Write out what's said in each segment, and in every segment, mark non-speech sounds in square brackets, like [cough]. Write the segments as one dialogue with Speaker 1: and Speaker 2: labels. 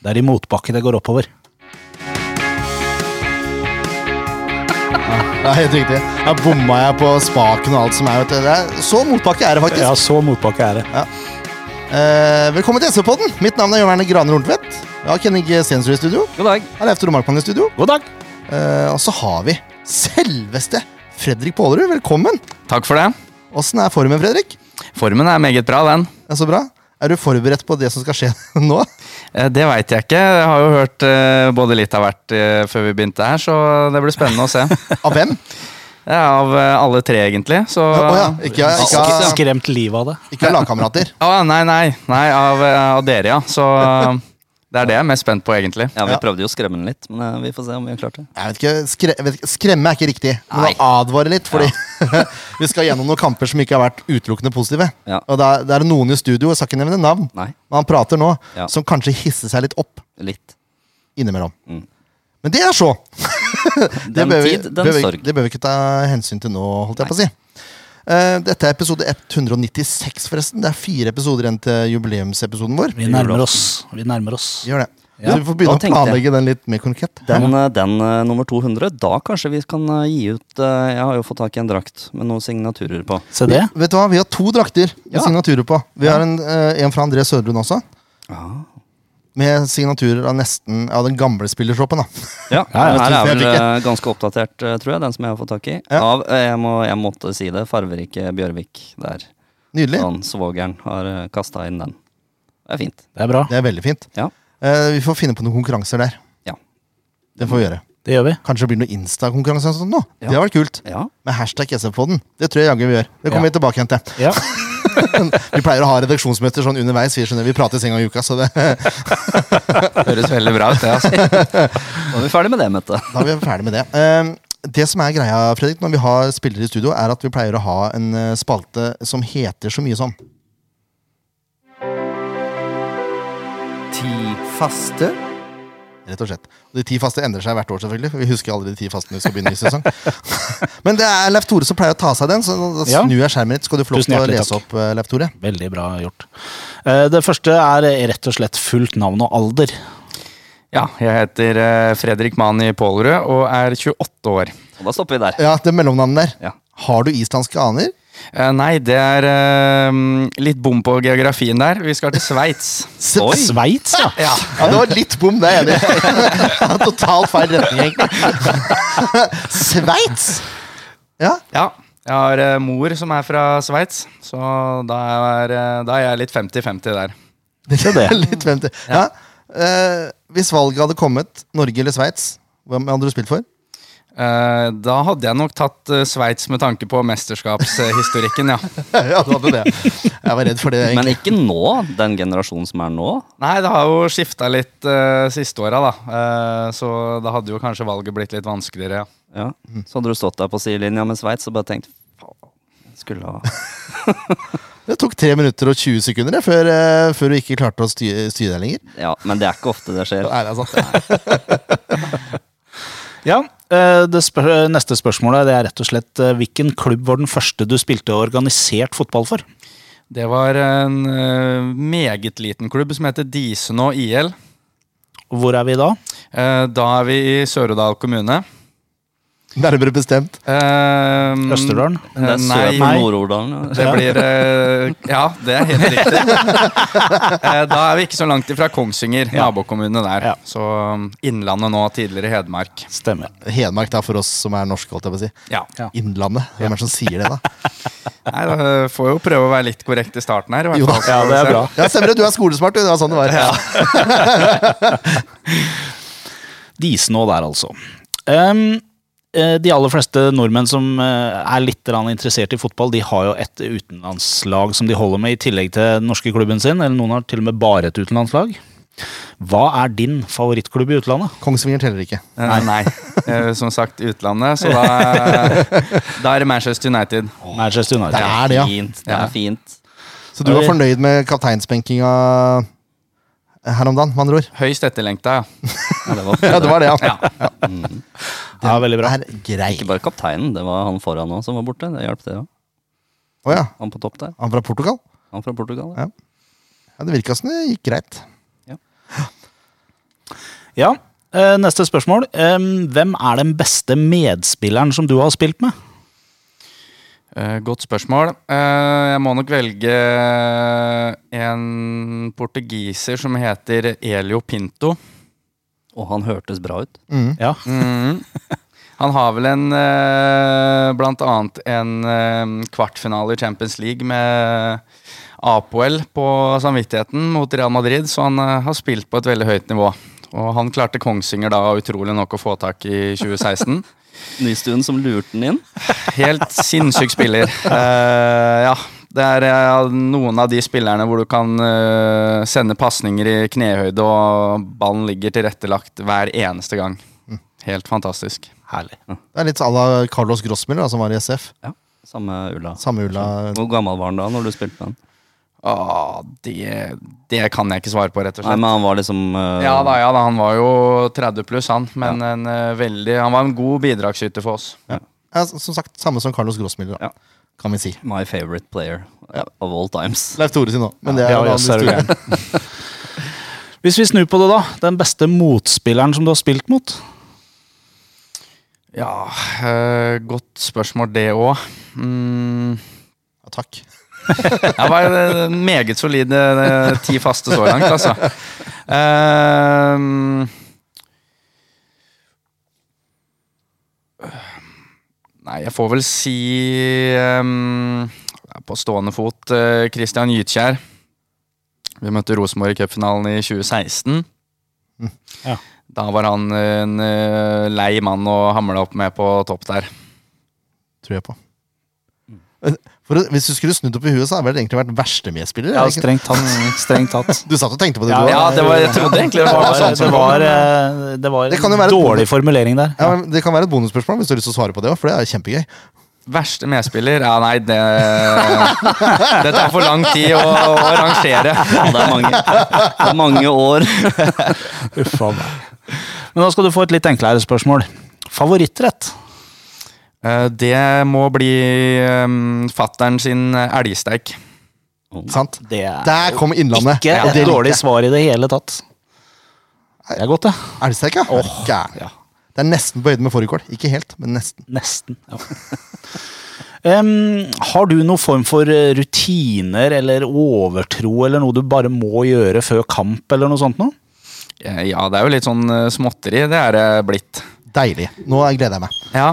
Speaker 1: Det er i motbakke det går oppover.
Speaker 2: Det er helt riktig. Her bomma jeg på spaken og alt som er. Vet du. Det er så motbakke er det faktisk.
Speaker 1: Ja, så motbakke er det.
Speaker 2: Eh, velkommen til SV-podden. Mitt navn er Jørn Erne Graner Horntvedt. Jeg har Kenny G. Stensrud i studio.
Speaker 3: God dag.
Speaker 2: Jeg er Leif Tore Markmann i studio.
Speaker 1: God dag.
Speaker 2: Eh, og så har vi selveste Fredrik Pålerud. Velkommen.
Speaker 3: Takk for det.
Speaker 2: Åssen er formen, Fredrik?
Speaker 3: Formen er meget bra, den.
Speaker 2: Det er så bra. Er du forberedt på det som skal skje [laughs] nå?
Speaker 3: Eh, Det veit jeg ikke. Jeg har jo hørt eh, både litt av hvert eh, før vi begynte her, så det blir spennende å se.
Speaker 2: [laughs] Av hvem?
Speaker 3: Ja, av eh, alle tre, egentlig. Så
Speaker 2: Å ja, ikke, ikke,
Speaker 1: Sk
Speaker 2: av-
Speaker 1: skremt livet av det.
Speaker 2: ikke av lagkamerater.
Speaker 3: Å, nei, nei. Nei, av, eh, av dere, ja. Så eh, det er det jeg er mest spent på, egentlig.
Speaker 4: Ja, vi
Speaker 2: Ja.
Speaker 4: prøvde jo å skremme den litt, men eh, vi får se om vi har klart det.
Speaker 2: Jeg vet ikke, skre, vet ikke, Skremme er ikke riktig, men å advare litt. Fordi [laughs] vi skal gjennom noen kamper som ikke har vært utelukkende positive.
Speaker 4: Ja.
Speaker 2: Og da, det er noen i studio, jeg skal ikke nevne navn,
Speaker 4: Nei,
Speaker 2: men han prater nå,
Speaker 4: Ja.
Speaker 2: som kanskje hisser seg litt opp
Speaker 4: litt.
Speaker 2: innimellom.
Speaker 4: Mm.
Speaker 2: Men det er så! Det
Speaker 4: Den
Speaker 2: bør vi,
Speaker 4: tid, den
Speaker 2: bør vi,
Speaker 4: sorg.
Speaker 2: det bør vi ikke ta hensyn til nå, holdt jeg på å si. Eh, dette er episode 196, forresten. Det er fire episoder igjen til jubileumsepisoden vår.
Speaker 1: Vi nærmer oss. Vi nærmer oss.
Speaker 2: Vi Gjør det.
Speaker 1: Ja,
Speaker 2: Så vi får begynne
Speaker 4: da
Speaker 2: å
Speaker 4: tenkte
Speaker 2: planlegge
Speaker 4: jeg.
Speaker 2: den litt mer konkret.
Speaker 4: Den, eh, den eh, nummer 200, da kanskje vi kan eh, gi ut eh, Jeg har jo fått tak i en drakt med noen signaturer på.
Speaker 1: Se det.
Speaker 2: Vet du hva, Vi har to drakter med
Speaker 4: Ja.
Speaker 2: signaturer på. Vi har en, eh, en fra André Sødlund også.
Speaker 4: Ah.
Speaker 2: Med signaturer av nesten av den gamle spillershoppen. da
Speaker 4: Ja,
Speaker 1: Ja, ja,
Speaker 4: Her er
Speaker 2: jeg
Speaker 4: vel
Speaker 2: fikk
Speaker 4: eh, ganske oppdatert, eh, tror jeg, den som jeg har fått tak i.
Speaker 2: Ja.
Speaker 4: Av, eh, jeg, må, jeg måtte si det, farverike Bjørvik der.
Speaker 2: Nydelig.
Speaker 4: Han svogeren har kasta inn den. Det er fint.
Speaker 1: Det er bra.
Speaker 2: Det er veldig fint.
Speaker 4: Ja.
Speaker 2: Eh, vi får finne på noen konkurranser der.
Speaker 4: Ja.
Speaker 2: Det får vi gjøre.
Speaker 1: Det gjør vi.
Speaker 2: Kanskje det blir noe Insta-konkurranse eller sånt nå.
Speaker 4: Ja.
Speaker 2: Det hadde vært kult.
Speaker 4: Ja,
Speaker 2: Med hashtag SF-podden. Det tror jeg jaggu vi gjør. Det
Speaker 1: Ja.
Speaker 2: kommer vi tilbake igjen til.
Speaker 1: Ja.
Speaker 2: [laughs] Vi pleier å ha redaksjonsmøter sånn underveis. Vi skjønner, vi prates en gang i uka, så det,
Speaker 3: Høres veldig bra ut, det. altså.
Speaker 4: Da er vi ferdig med det, Mette.
Speaker 2: da er vi ferdig med det. Eh, det som er greia, Fredrik, når vi har spillere i studio, er at vi pleier å ha en eh, spalte som heter så mye som
Speaker 5: Ti faste.
Speaker 2: Rett og slett. Og de ti faste endrer seg hvert år, selvfølgelig. for Vi husker aldri de ti faste når vi skal begynne ny sesong.
Speaker 1: [laughs]
Speaker 2: Men det er Leif Tore som pleier å ta seg den, så da
Speaker 1: Ja.
Speaker 2: snur jeg skjermen litt. Skal du få lov
Speaker 1: Tusen
Speaker 2: til å
Speaker 1: hjertelig
Speaker 2: lese
Speaker 1: takk.
Speaker 2: opp, eh, Leif Tore?
Speaker 1: Veldig bra gjort. Eh, Det første er rett og slett fullt navn og alder.
Speaker 3: Ja, jeg heter eh, Fredrik Mani Pålerød og er 28 år.
Speaker 4: Og da stopper vi der.
Speaker 2: Ja, det mellomnavnet der.
Speaker 4: Ja.
Speaker 2: Har du islandske aner?
Speaker 3: Eh, Nei, det er eh, litt bom på geografien der. Vi skal til Sveits.
Speaker 2: [laughs] S- s-
Speaker 1: [laughs] Sveits, ja.
Speaker 2: Ja. ja, det var litt bom, det er jeg enig i. [laughs] Totalt feil retning, egentlig. [laughs] Sveits! Ja,
Speaker 3: Ja. Jeg har eh, mor som er fra Sveits, så da er, eh, da er jeg litt 50-50 der.
Speaker 2: det
Speaker 1: Se det.
Speaker 2: er [laughs] litt frem til. Ja. eh, hvis valget hadde kommet Norge eller Sveits, hvem hadde du spilt [laughs] for?
Speaker 3: Eh, Da hadde jeg nok tatt eh, Sveits med tanke på mesterskapshistorikken,
Speaker 2: [laughs]
Speaker 3: ja.
Speaker 2: ja, du hadde det. Jeg var redd for det. egentlig.
Speaker 4: Men ikke nå, den generasjonen som er nå.
Speaker 3: Nei, det har jo skifta litt eh, siste åra, da. Eh, Så da hadde jo kanskje valget blitt litt vanskeligere, ja.
Speaker 4: Ja. Så hadde du stått der på sidelinja med Sveits og bare tenkt Faen, jeg skulle ha
Speaker 2: Det tok 3 minutter og 20 sekunder det, før, eh, før du ikke klarte å styre, styre deg lenger.
Speaker 4: Ja, men det er ikke ofte det
Speaker 3: Eh,
Speaker 4: skjer.
Speaker 2: Nei, det altså. er sant.
Speaker 1: Ja, eh, det spør neste spørsmålet det er rett og slett eh, hvilken klubb var den første du spilte organisert fotball for?
Speaker 3: Det var en eh, meget liten klubb som heter Disenå IL.
Speaker 1: Og Hvor er vi da?
Speaker 3: Eh, Da er vi i Sør-Odal kommune.
Speaker 2: Nærmere bestemt.
Speaker 3: Eh,
Speaker 1: Østerdalen?
Speaker 4: Men det
Speaker 3: eh,
Speaker 4: er
Speaker 3: nei,
Speaker 4: sør for
Speaker 3: nei.
Speaker 4: Nord-Ordalen.
Speaker 3: Det blir eh, Ja, det er helt riktig. [laughs] Eh, da er vi ikke så langt ifra Kongsvinger, nabokommune der.
Speaker 1: Ja.
Speaker 3: Så um, Innlandet nå, tidligere Hedmark.
Speaker 1: Stemmer.
Speaker 2: Hedmark da, for oss som er norske, holdt jeg på å si.
Speaker 3: Ja.
Speaker 1: Ja.
Speaker 2: Innlandet. Hvem er det som sier det, da?
Speaker 3: Nei, da eh, får jo prøve å være litt korrekt i starten her. I
Speaker 2: Jo
Speaker 3: hvert
Speaker 2: da.
Speaker 3: fall.
Speaker 1: Ja, det er bra.
Speaker 2: Ja, stemmer det. Du er skolesmart, du. Det var sånn det var.
Speaker 1: Disenå der, altså. Em, eh, de aller fleste nordmenn som eh, er litt grann interessert i fotball, de har jo et utenlandslag som de holder med, i tillegg til den norske klubben sin. Eller noen har til og med bare et utenlandslag. Hva er din favorittklubb i utlandet?
Speaker 2: Kongsvinger teller ikke.
Speaker 3: Eh, Nei. Eh, Som sagt, utlandet,
Speaker 1: [laughs]
Speaker 3: så da, da er det Manchester United.
Speaker 1: Manchester United.
Speaker 2: Det er det, ja.
Speaker 4: Fint. Det
Speaker 3: Ja.
Speaker 4: er fint.
Speaker 2: Så du var fornøyd med kapteinsbenkinga her om dagen, med andre ord?
Speaker 3: Høyst etterlengta, ja.
Speaker 4: Ja, det var
Speaker 2: Ja, det var det, ja.
Speaker 1: Ja, veldig bra.
Speaker 2: Det er greit.
Speaker 4: Ikke bare kapteinen, det var han foran nå som var borte. Det hjalp, det òg.
Speaker 2: Å ja.
Speaker 4: Han på topp der.
Speaker 2: Han fra Portugal?
Speaker 4: Han fra Portugal.
Speaker 2: Ja. Ja, det virka som det gikk greit.
Speaker 4: Ja.
Speaker 1: Ja, eh, Neste spørsmål. Eh, Hvem er den beste medspilleren som du har spilt med?
Speaker 3: Eh, godt spørsmål. Eh, jeg må nok velge en portugiser som heter Elio Pinto.
Speaker 4: Og han hørtes bra ut.
Speaker 2: Mm.
Speaker 1: Ja,
Speaker 3: Mhm. [laughs] Han har vel en eh, blant annet en eh, kvartfinale i Champions League med Apoel på samvittigheten mot Real Madrid, så han eh, har spilt på et veldig høyt nivå. Og han klarte Kongsvinger da utrolig nok å få tak i 2016.
Speaker 4: Nystuen som lurte den inn.
Speaker 3: Helt sinnssyk spiller. Eh, ja. Det er eh, noen av de spillerne hvor du kan eh, sende pasninger i knehøyde, og ballen ligger tilrettelagt hver eneste gang.
Speaker 2: Mm.
Speaker 3: Helt fantastisk.
Speaker 1: herlig.
Speaker 2: Det er litt à la Carlos Grossmiller, da, som var i SF.
Speaker 4: Samme ulla.
Speaker 2: Samme ulla
Speaker 4: Hvor gammel var han da når du spilte med han?
Speaker 3: Ah, det, det kan jeg ikke svare på, rett og
Speaker 4: Nei,
Speaker 3: slett.
Speaker 4: men han var liksom eh,
Speaker 3: Ja da, ja da, han var jo 30 pluss, han. Men en, eh, veldig, han var en god bidragsyter for oss.
Speaker 2: ja, Som sagt, samme som Carlos Grossmiller, da.
Speaker 4: Ja.
Speaker 2: kan vi si.
Speaker 4: eh, My favorite player eh, of all
Speaker 3: [laughs]
Speaker 4: times.
Speaker 2: Leif Tore sin òg, men det er
Speaker 1: Ja,
Speaker 2: jo en
Speaker 1: ja,
Speaker 2: annen
Speaker 1: så er du
Speaker 2: historie.
Speaker 1: Hvis vi snur på det, da. Den beste motspilleren som du har spilt mot?
Speaker 3: Ja, eh, godt spørsmål det òg. Mm,
Speaker 2: Ja, takk.
Speaker 3: jeg var eh, meget solide eh, ti faste så langt, altså. Ehm, nei, jeg får vel si ehm, på stående fot eh, Christian Gytkjær. Vi møtte Rosenborg i cupfinalen i 2016.
Speaker 1: Ja.
Speaker 3: Da var han en eh, lei mann å hamle opp med på topp der.
Speaker 2: Tror jeg på. For, å- hvis du skulle snudd opp i huet, så hadde det egentlig vært verste medspiller.
Speaker 1: Ja,
Speaker 2: er det ikke?
Speaker 1: strengt tatt. Strengt tatt.
Speaker 2: Du satt og tenkte på det.
Speaker 1: Ja,
Speaker 2: du
Speaker 3: Ja,
Speaker 2: også.
Speaker 3: det var, jeg trodde egentlig det
Speaker 1: Det
Speaker 3: var
Speaker 1: var,
Speaker 3: noe sånt
Speaker 1: det
Speaker 3: som
Speaker 1: var,
Speaker 3: kom.
Speaker 1: eh, det var
Speaker 2: Det kan
Speaker 1: en
Speaker 2: jo være et
Speaker 1: dårlig
Speaker 2: bonus-
Speaker 1: formulering
Speaker 2: [laughs]
Speaker 1: der.
Speaker 2: Ja, men det kan være et bonusspørsmål hvis du har lyst til å svare på det òg, for det er kjempegøy.
Speaker 3: Verste medspiller? Ja, nei, det Det [laughs] tar for lang tid å, å rangere.
Speaker 4: Ja, det, er mange, det er mange
Speaker 3: [laughs]
Speaker 4: år.
Speaker 1: Uff a meg. Men da skal du få et litt enklere spørsmål. Favorittrett?
Speaker 3: Eh, Det må bli um, fattern sin elgsteik.
Speaker 2: Sant?
Speaker 1: Det er
Speaker 2: Der kom Innlandet.
Speaker 1: ikke
Speaker 2: og det
Speaker 1: et dårlig svar i det hele tatt. Det er godt, det.
Speaker 2: Elgsteik, ja. Gæren.
Speaker 1: ja.
Speaker 2: Det er nesten på høyde med fårikål. Ikke helt, men nesten.
Speaker 1: Nesten. Ja. [laughs] Em, har du noen form for eh, rutiner eller overtro eller noe du bare må gjøre før kamp eller noe sånt noe?
Speaker 3: Eh, Ja, det er jo litt sånn eh, småtteri. Det er det blitt.
Speaker 2: Deilig. Nå gleder jeg meg.
Speaker 3: Ja.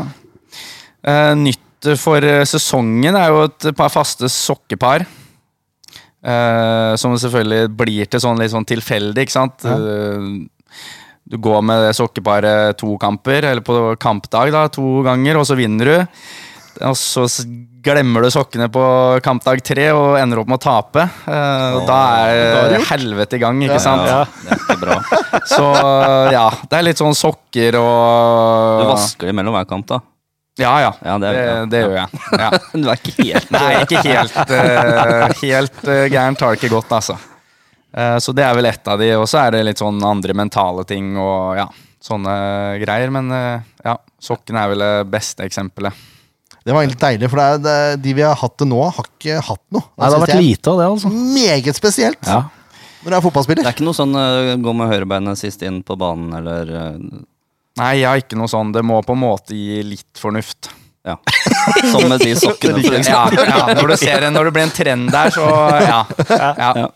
Speaker 3: Eh, Nytt for eh, sesongen er jo et par faste sokkepar. Eh, som selvfølgelig blir til sånn litt sånn tilfeldig, ikke sant. Eh, Du går med det sokkeparet to kamper, eller på kampdag da, to ganger, og så vinner du. Og så s- glemmer du sokkene på kampdag tre og ender opp med å tape. Eh, og da er helvete i gang, ikke sant.
Speaker 4: Ja, det er ikke bra.
Speaker 3: Så ja, det er litt sånn sokker og
Speaker 4: Du vasker det mellom hver kant, da.
Speaker 3: ja, ja.
Speaker 4: Ja, det
Speaker 3: det,
Speaker 4: er- ja.
Speaker 3: det gjør jeg. Ja.
Speaker 4: [laughs] Du er ikke helt
Speaker 3: Nei, ikke helt eh, Helt uh, gærent har det ikke gått, altså. Eh, så det er vel ett av de. Og så er det litt sånn andre mentale ting og ja, sånne greier. Men eh, ja, sokkene er vel det beste eksempelet.
Speaker 2: Det var egentlig deilig, for det er, det er, de vi har hatt det nå, har ikke hatt noe.
Speaker 1: Nei, det har
Speaker 2: synes
Speaker 1: vært
Speaker 2: jeg Mm.
Speaker 1: lite av det, altså.
Speaker 2: er Meget spesielt
Speaker 1: Ja.
Speaker 2: når du er
Speaker 4: Det
Speaker 2: fotballspiller.
Speaker 4: er ikke noe sånn eh, gå med høyrebeinet sist inn på banen, eller eh,
Speaker 3: Nei, jeg har ikke noe sånn. Det må på en måte gi litt fornuft.
Speaker 4: ja. [laughs] Som med de sokkene, for eksempel.
Speaker 3: Ja, ja, når, du ser, en- når det blir en trend der, så ja. ja.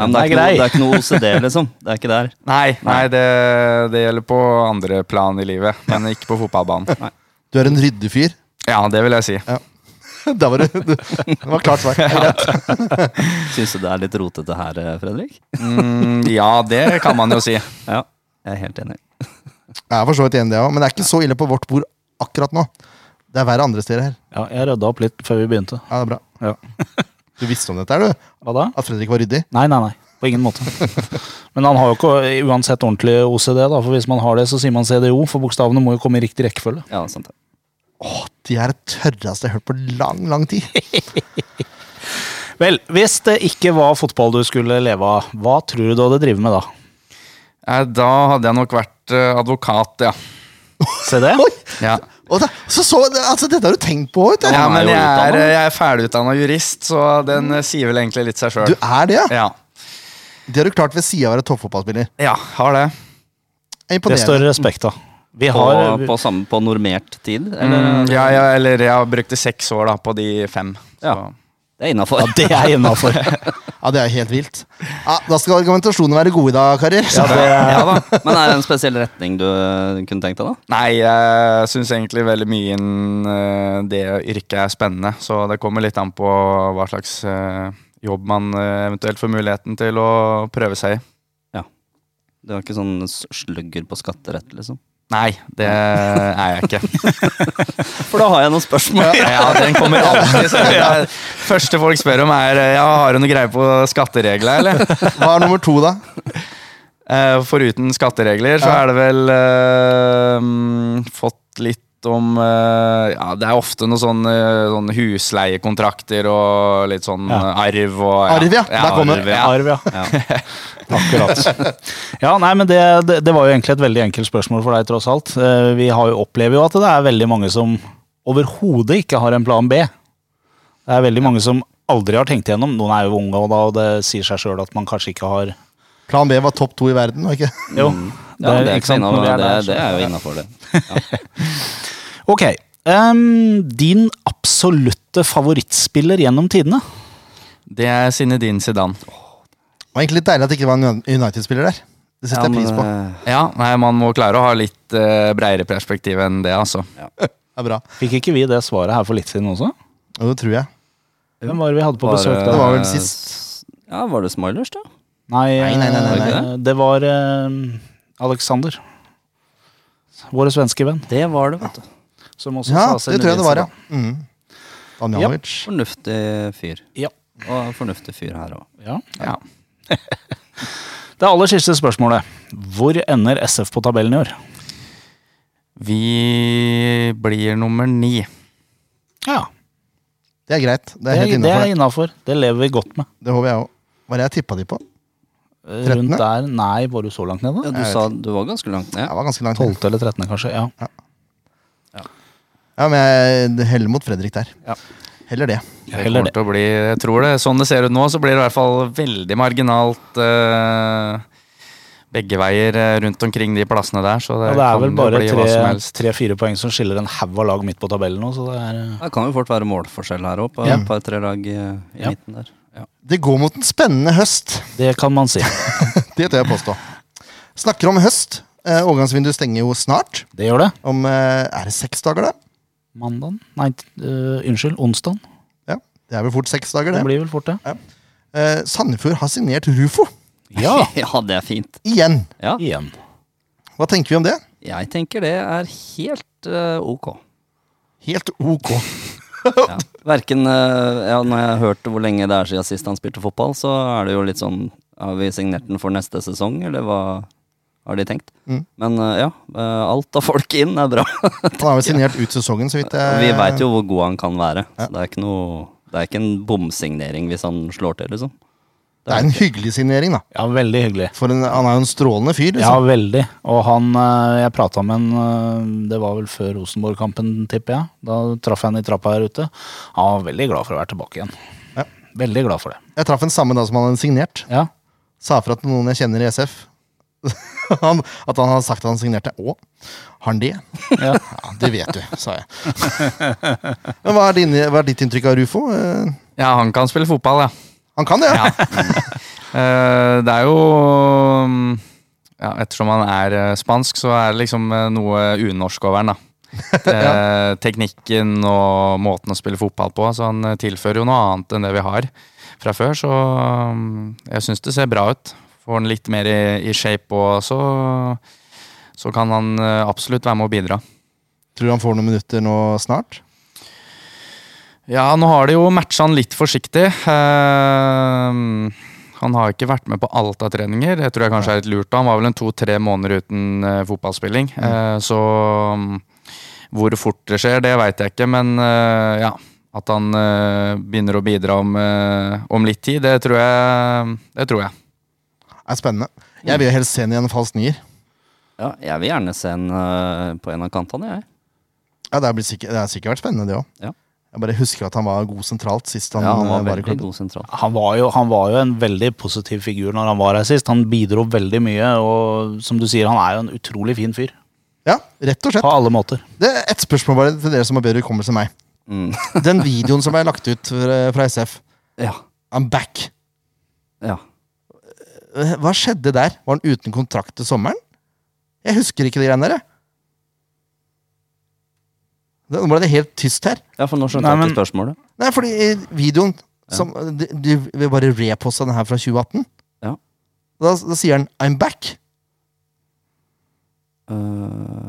Speaker 4: Ja, men det, er
Speaker 1: Den er
Speaker 4: ikke noe,
Speaker 1: grei.
Speaker 4: det er ikke noe OCD, liksom. Det er ikke der.
Speaker 3: Nei, nei det, det gjelder på andre plan i livet, men ikke på fotballbanen.
Speaker 2: Du er en ryddig fyr.
Speaker 3: Ja, det vil jeg si.
Speaker 2: [laughs] Da var det, det var klart svar. Greit.
Speaker 4: Syns du det er litt rotete her, eh, Fredrik?
Speaker 3: Mm, ja, det kan man jo si.
Speaker 4: Ja, jeg er helt enig.
Speaker 2: Jeg er for så vidt enig, i det òg, men det er ikke så ille på vårt bord akkurat nå. Det er verre andre steder her.
Speaker 1: ja, jeg rydda opp litt før vi begynte.
Speaker 2: Ja, det er bra.
Speaker 1: Ja.
Speaker 2: [laughs] Du visste om dette, her, du?
Speaker 1: Hva da?
Speaker 2: At Fredrik var ryddig?
Speaker 1: Nei, nei, nei. På ingen [laughs] måte. Men han har jo ikke uansett ordentlig OCD, da, for hvis man har det, så sier man CDO, for bokstavene må jo komme i riktig rekkefølge.
Speaker 4: Ja, sant det.
Speaker 2: Åh, de er det tørreste jeg har hørt på lang, lang
Speaker 1: [laughs]
Speaker 2: tid.
Speaker 1: Vel, hvis det ikke var fotball du skulle leve av, hva tror du du hadde drevet med da?
Speaker 3: Eh, Da hadde jeg nok vært eh, advokat, ja.
Speaker 1: Se det?
Speaker 3: ja.
Speaker 2: Og da, så, så, altså, dette har du tenkt på, vet du.
Speaker 3: ja men
Speaker 4: jo
Speaker 3: jeg er,
Speaker 4: utdannet.
Speaker 3: jeg er ferdigutdanna jurist, så den eh, sier vel egentlig litt seg
Speaker 2: Du
Speaker 3: sjøl.
Speaker 2: er det, ja?
Speaker 3: Ja.
Speaker 2: Det har du klart ved sida av å være toppfotballspiller.
Speaker 3: ja, har det.
Speaker 1: Det står
Speaker 2: Imponerende.
Speaker 1: respekt av. Vi
Speaker 4: På,
Speaker 1: har
Speaker 4: på, samme, på normert tid? Eller?
Speaker 3: Mm, ja, ja, eller jeg brukte seks år da, på de fem.
Speaker 4: Ja.
Speaker 3: Så.
Speaker 4: Det er innafor.
Speaker 1: Ja, det er innafor.
Speaker 2: Ja, det er helt vilt. Ja, da skal argumentasjonene være gode i dag, karer.
Speaker 4: [laughs] Ja da. [laughs] Men er det en spesiell retning du eh, kunne tenkt deg, da?
Speaker 3: Nei, jeg syns egentlig veldig mye innen eh, det yrket er spennende. Så det kommer litt an på hva slags eh, jobb man eh, eventuelt får muligheten til å prøve seg i.
Speaker 4: Du er ikke sånn s- slugger på skatterett, liksom?
Speaker 3: Nei, det er jeg ikke.
Speaker 4: For da har jeg noen spørsmål.
Speaker 3: Ja, Den kommer alltid. Så det er- første folk spør om, er eh, ja, har du noe greie på
Speaker 2: [laughs]
Speaker 3: skatteregler, eller?
Speaker 2: Hva er nummer to, da?
Speaker 3: Eh, Foruten skatteregler så
Speaker 2: Ja.
Speaker 3: er det vel eh, mm, fått litt om eh, Ja, det er ofte noen sånne, sånne sånn husleiekontrakter og litt sånn
Speaker 1: Ja.
Speaker 3: eh, arv og
Speaker 2: Arv, ja. Der kommer-
Speaker 3: arv, ja.
Speaker 1: Arv, ja. [laughs] Akkurat. Ja, nei, men det, det, det var jo egentlig et veldig enkelt spørsmål for deg, tross alt. Eh, Vi har jo, opplever jo at det er veldig mange som overhodet ikke har en plan B. Det er veldig mange som aldri har tenkt igjennom. Noen er jo unge, og, da, og det sier seg sjøl at man kanskje ikke har
Speaker 2: Plan B var topp to i verden. var ikke?
Speaker 1: Jo.
Speaker 4: [laughs] Mm. Ja, det, er ikke
Speaker 1: sant, når
Speaker 4: innafor,
Speaker 1: vi er
Speaker 4: det,
Speaker 1: der, så-
Speaker 4: det er jo innafor, det.
Speaker 1: Ok. ehm, din absolutte favorittspiller gjennom tidene?
Speaker 3: Det er Zinedine Zidane.
Speaker 2: Det var egentlig litt deilig at det ikke var en United-spiller der. Det setter jeg pris
Speaker 1: eh,
Speaker 2: på.
Speaker 4: eh,
Speaker 3: Ja, nei, man må klare å ha litt eh, bredere perspektiv enn det, altså.
Speaker 2: Det er bra.
Speaker 1: Fikk ikke vi det svaret her for litt siden også?
Speaker 2: Jo, det tror jeg.
Speaker 1: Hvem var det vi hadde på
Speaker 4: Var
Speaker 1: besøk da?
Speaker 2: Det var vel sist.
Speaker 4: eh, Ja, var det Smilers, da?
Speaker 1: Nei,
Speaker 2: Nei, nei, nei, nei,
Speaker 1: eh, det var eh, Alexander. Vår svenske venn.
Speaker 4: Det var det, vet du.
Speaker 1: Som også
Speaker 2: Ja,
Speaker 1: sa
Speaker 2: det tror jeg det var, ja. Mm. Danjanovic.
Speaker 4: Fornuftig fyr.
Speaker 1: Ja.
Speaker 4: Og fornuftig fyr her òg.
Speaker 1: ja.
Speaker 3: Ja.
Speaker 1: [laughs] Det aller siste spørsmålet. Hvor ender SF på tabellen i år?
Speaker 3: Vi blir nummer ni.
Speaker 1: Ja,
Speaker 2: Det er greit. Det
Speaker 1: Det
Speaker 2: er
Speaker 1: er,
Speaker 2: helt
Speaker 1: det er
Speaker 2: innafor.
Speaker 1: innafor. Det lever vi godt med.
Speaker 2: Det håper jeg òg. Hva er det jeg tippa de på?
Speaker 1: Eh,
Speaker 2: Trettende?
Speaker 1: Rundt der, nei, var du så langt ned da?
Speaker 4: Ja, du sa du var ganske langt ned.
Speaker 2: Jeg var ganske langt ned.
Speaker 1: 12. eller 13. kanskje, ja.
Speaker 2: Ja, men jeg heller mot Fredrik der.
Speaker 1: Ja.
Speaker 2: Heller det.
Speaker 3: Det
Speaker 1: Heller
Speaker 3: kommer til å bli, jeg tror det, sånn det ser ut nå, så blir det i hvert fall veldig marginalt eh, begge veier eh, rundt omkring de plassene der. Så det,
Speaker 1: Ja, det er
Speaker 3: kan
Speaker 1: vel
Speaker 3: jo
Speaker 1: bare
Speaker 3: bli hva som
Speaker 1: tre-
Speaker 3: helst.
Speaker 1: tre-fire poeng som skiller en haug av lag midt på tabellen nå, så det er eh,
Speaker 4: Det kan jo fort være målforskjell her òg, på
Speaker 2: Ja.
Speaker 4: et par-tre lag i, i
Speaker 1: Ja.
Speaker 4: midten der. Ja.
Speaker 2: Det går mot en spennende høst.
Speaker 1: Det kan man si.
Speaker 2: Det tør jeg påstå. Snakker om høst. Eh, overgangsvinduet stenger jo snart.
Speaker 1: Det gjør det.
Speaker 2: Om eh, er det seks dager, da?
Speaker 1: Mandag? Nei, eh, unnskyld, onsdag.
Speaker 2: Ja, Det er vel fort seks dager,
Speaker 1: Det
Speaker 2: det.
Speaker 1: blir vel fort, det.
Speaker 2: Eh, Sandefjord har signert Rufo.
Speaker 1: Ja,
Speaker 4: [laughs] det er fint.
Speaker 2: Igjen.
Speaker 4: Ja,
Speaker 1: igjen.
Speaker 2: Hva tenker vi om det?
Speaker 4: jeg tenker det er helt eh, ok.
Speaker 2: Helt ok.
Speaker 4: Ja. Verken eh, ja, Når jeg har hørt hvor lenge det er siden sist han spilte fotball, så er det jo litt sånn Har vi signert den for neste sesong, eller hva har de tenkt?
Speaker 2: Mm.
Speaker 4: Men eh, ja, eh, alt av folk inn er bra. [laughs]
Speaker 2: Han har vel signert ut sesongen, så vidt jeg
Speaker 4: Vi veit jo hvor god han kan være.
Speaker 2: Ja.
Speaker 4: Så det er ikke noe Det er ikke en bomsignering hvis han slår til, liksom.
Speaker 2: Det er en hyggelig signering, da.
Speaker 1: Ja, veldig hyggelig.
Speaker 2: For en, han er jo en strålende fyr.
Speaker 1: Ja,
Speaker 2: Liksom.
Speaker 1: veldig. Og han eh, Jeg prata med han eh, Det var vel før Rosenborg-kampen, tipper jeg. Da traff jeg han i trappa her ute. Han var veldig glad for å være tilbake igjen.
Speaker 2: Ja.
Speaker 1: Veldig glad for det.
Speaker 2: Jeg traff en samme da som han hadde signert.
Speaker 1: Ja.
Speaker 2: Sa fra til noen jeg kjenner i SF. [laughs] han, at han hadde sagt at han signerte. Å, har han det?
Speaker 1: Ja. [laughs]
Speaker 2: Ja, det vet du, sa jeg. Men hva er, din, hva er ditt inntrykk av Rufo? Eh,
Speaker 3: Ja, han kan spille fotball, ja.
Speaker 2: han kan det, ja.
Speaker 3: ja. Eh, det er jo mm, ja, Ettersom han er eh, spansk, så er det liksom eh, noe unorsk over han, da. Eh, Teknikken og måten å spille fotball på. Så han eh, tilfører jo noe annet enn det vi har fra før. Så mm, jeg syns det ser bra ut. Får han litt mer i, i shape og så, så kan han eh, absolutt være med å bidra.
Speaker 2: Tror du han får noen minutter nå snart?
Speaker 3: Ja, nå har de jo matcha han litt forsiktig. Ehm, han har ikke vært med på alt av treninger. Det tror jeg kanskje er litt lurt. da. Han var vel en to-tre måneder uten eh, fotballspilling. Eh, så mm, hvor fort det skjer, det veit jeg ikke. Men eh, ja, at han eh, begynner å bidra om, eh, om litt tid, det tror jeg. Det tror jeg.
Speaker 2: Det er spennende. Jeg vil jo helst se ham i en falsk nier.
Speaker 4: Ja, jeg vil gjerne se en eh, på en av kantene, jeg.
Speaker 2: Ja, det, er blitt sikkert, det har sikkert vært spennende, det òg.
Speaker 4: Ja.
Speaker 2: Jeg bare husker at han var god sentralt sist han,
Speaker 4: Ja, han
Speaker 2: eh, var
Speaker 4: var
Speaker 2: i
Speaker 4: veldig
Speaker 2: klubben.
Speaker 4: god sentralt.
Speaker 1: Han var, jo, han var jo en veldig positiv figur når han var her sist. Han bidro veldig mye, og som du sier, han er jo en utrolig fin fyr.
Speaker 2: Ja, rett og slett.
Speaker 1: På alle måter.
Speaker 2: Det er Et spørsmål bare til dere som har bedre hukommelse enn meg.
Speaker 4: Mm. [laughs]
Speaker 2: Den videoen som ble lagt ut eh, fra fra SF,
Speaker 4: Ja.
Speaker 2: I'm back.
Speaker 4: ja.
Speaker 2: Eh, Hva skjedde der? Var han uten kontrakt til sommeren? Jeg husker ikke de greiene der, jeg. Da ble det helt tyst her.
Speaker 4: Ja, for nå skjønte
Speaker 1: Nei,
Speaker 4: jeg
Speaker 1: men-
Speaker 4: ikke spørsmålet.
Speaker 2: Nei, fordi i videoen som, eh, de, de vil bare reposte den her fra 2018.
Speaker 4: Ja.
Speaker 2: Da, da sier han 'I'm back'.
Speaker 4: Eh,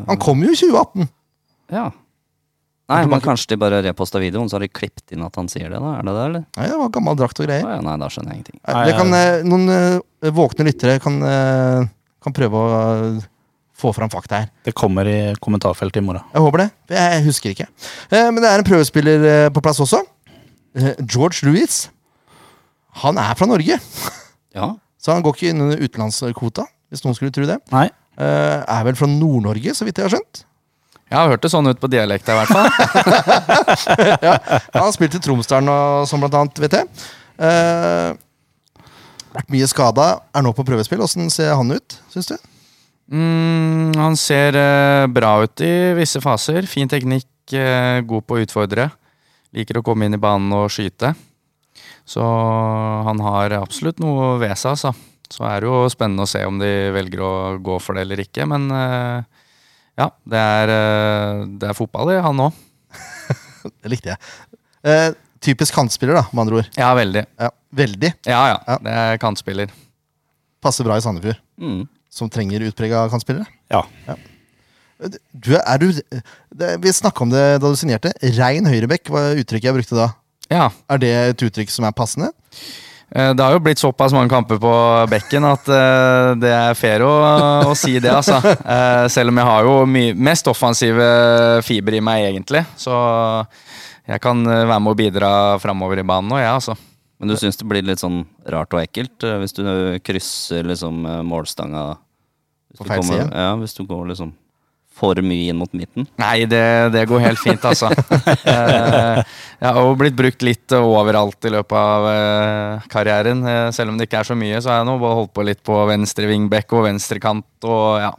Speaker 2: Han kom jo i 2018.
Speaker 4: ja. Nei, men kanskje de bare reposta videoen, så har de klippet inn at han sier det, da? Er det det, eller?
Speaker 2: Nei, det var gammel drakt og
Speaker 4: Å
Speaker 2: greier.
Speaker 4: ja, nei, da skjønner jeg ingenting.
Speaker 1: Nei,
Speaker 2: det
Speaker 1: ja.
Speaker 2: kan, eh, noen eh, våkne lyttere kan, eh, kan prøve å eh, få fram fakta her.
Speaker 1: Det kommer i kommentarfeltet i morgen.
Speaker 2: Jeg håper det. for Jeg husker ikke. Eh, Men det er en prøvespiller eh, på plass også. Eh, George Louis. Han er fra Norge,
Speaker 4: Ja.
Speaker 2: så han går ikke inn under utenlandskvota. Hvis noen skulle tro det.
Speaker 1: Nei,
Speaker 2: Eh, Er vel fra Nord-Norge, så vidt jeg har skjønt.
Speaker 3: Jeg har hørt det sånn ut på dialekta, i hvert fall.
Speaker 2: Han har spilt i Tromsdalen og sånn, blant annet, vet jeg. Eh, Vært mye skada. Er nå på prøvespill. Åssen ser han ut, syns du?
Speaker 3: Mm, han ser eh, bra ut i visse faser. Fin teknikk, eh, god på å utfordre. Liker å komme inn i banen og skyte. Så han har absolutt noe ved seg, altså. Så er det jo spennende å se om de velger å gå for det eller ikke, men eh, ja, det er, eh, det er fotball i han òg.
Speaker 2: Det likte jeg. Eh, Typisk kantspiller, da, med andre ord.
Speaker 3: Ja, veldig.
Speaker 2: Ja, veldig.
Speaker 3: Ja,
Speaker 2: Ja.
Speaker 3: ja. Det er kantspiller.
Speaker 2: Passer bra i Sandefjord,
Speaker 4: Mm.
Speaker 2: som trenger utprega kantspillere.
Speaker 1: ja. [laughs]
Speaker 2: Du, er du, det, vi snakka om det da du signerte. Rein høyrebekk var uttrykket jeg brukte da.
Speaker 3: Ja.
Speaker 2: Er det et uttrykk som er passende?
Speaker 3: Eh, Det har jo blitt såpass mange kamper på bekken at eh, det er fair å, å si det, altså. Eh, Selv om jeg har jo my- mest offensive fiber i meg, egentlig. Så jeg kan eh, være med og bidra framover i banen nå, jeg, altså.
Speaker 4: Men du syns det blir litt sånn rart og ekkelt eh, hvis du krysser liksom eh, målstanga hvis
Speaker 2: På
Speaker 4: du
Speaker 2: feil
Speaker 4: kommer-
Speaker 2: side?
Speaker 4: Ja, hvis du går liksom for mye inn mot midten.
Speaker 3: Nei, det, det går helt fint, altså. Eh, Jeg har jo blitt brukt litt eh, overalt i løpet av eh, karrieren. Eh, Selv om det ikke er så mye, så har jeg nå bare holdt på litt på venstre vingbekk og venstrekant og ja.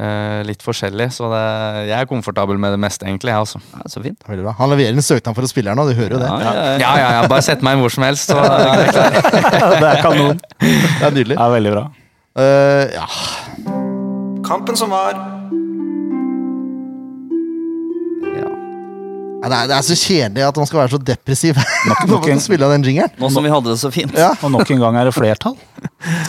Speaker 3: eh, Litt forskjellig, så det, jeg er komfortabel med det meste, egentlig. Jeg, altså.
Speaker 4: Ja, så fint.
Speaker 2: Veldig bra. Han leverer en søknad for å spille her nå, du hører jo det.
Speaker 4: Ja, ja, ja.
Speaker 3: Ja, ja, ja, bare sett meg inn hvor som helst. Så, ja,
Speaker 1: det er [laughs] kanon.
Speaker 2: Det er nydelig.
Speaker 1: Det er veldig bra.
Speaker 2: Eh, ja.
Speaker 5: Kampen som var.
Speaker 2: Nei, Det, er, det er så kjedelig at man skal være så depressiv [laughs] når
Speaker 1: nok en-
Speaker 2: man spiller av den jingeren.
Speaker 4: Nå som vi hadde det så fint.
Speaker 2: Ja.
Speaker 1: [laughs] Og nok en gang er det flertall.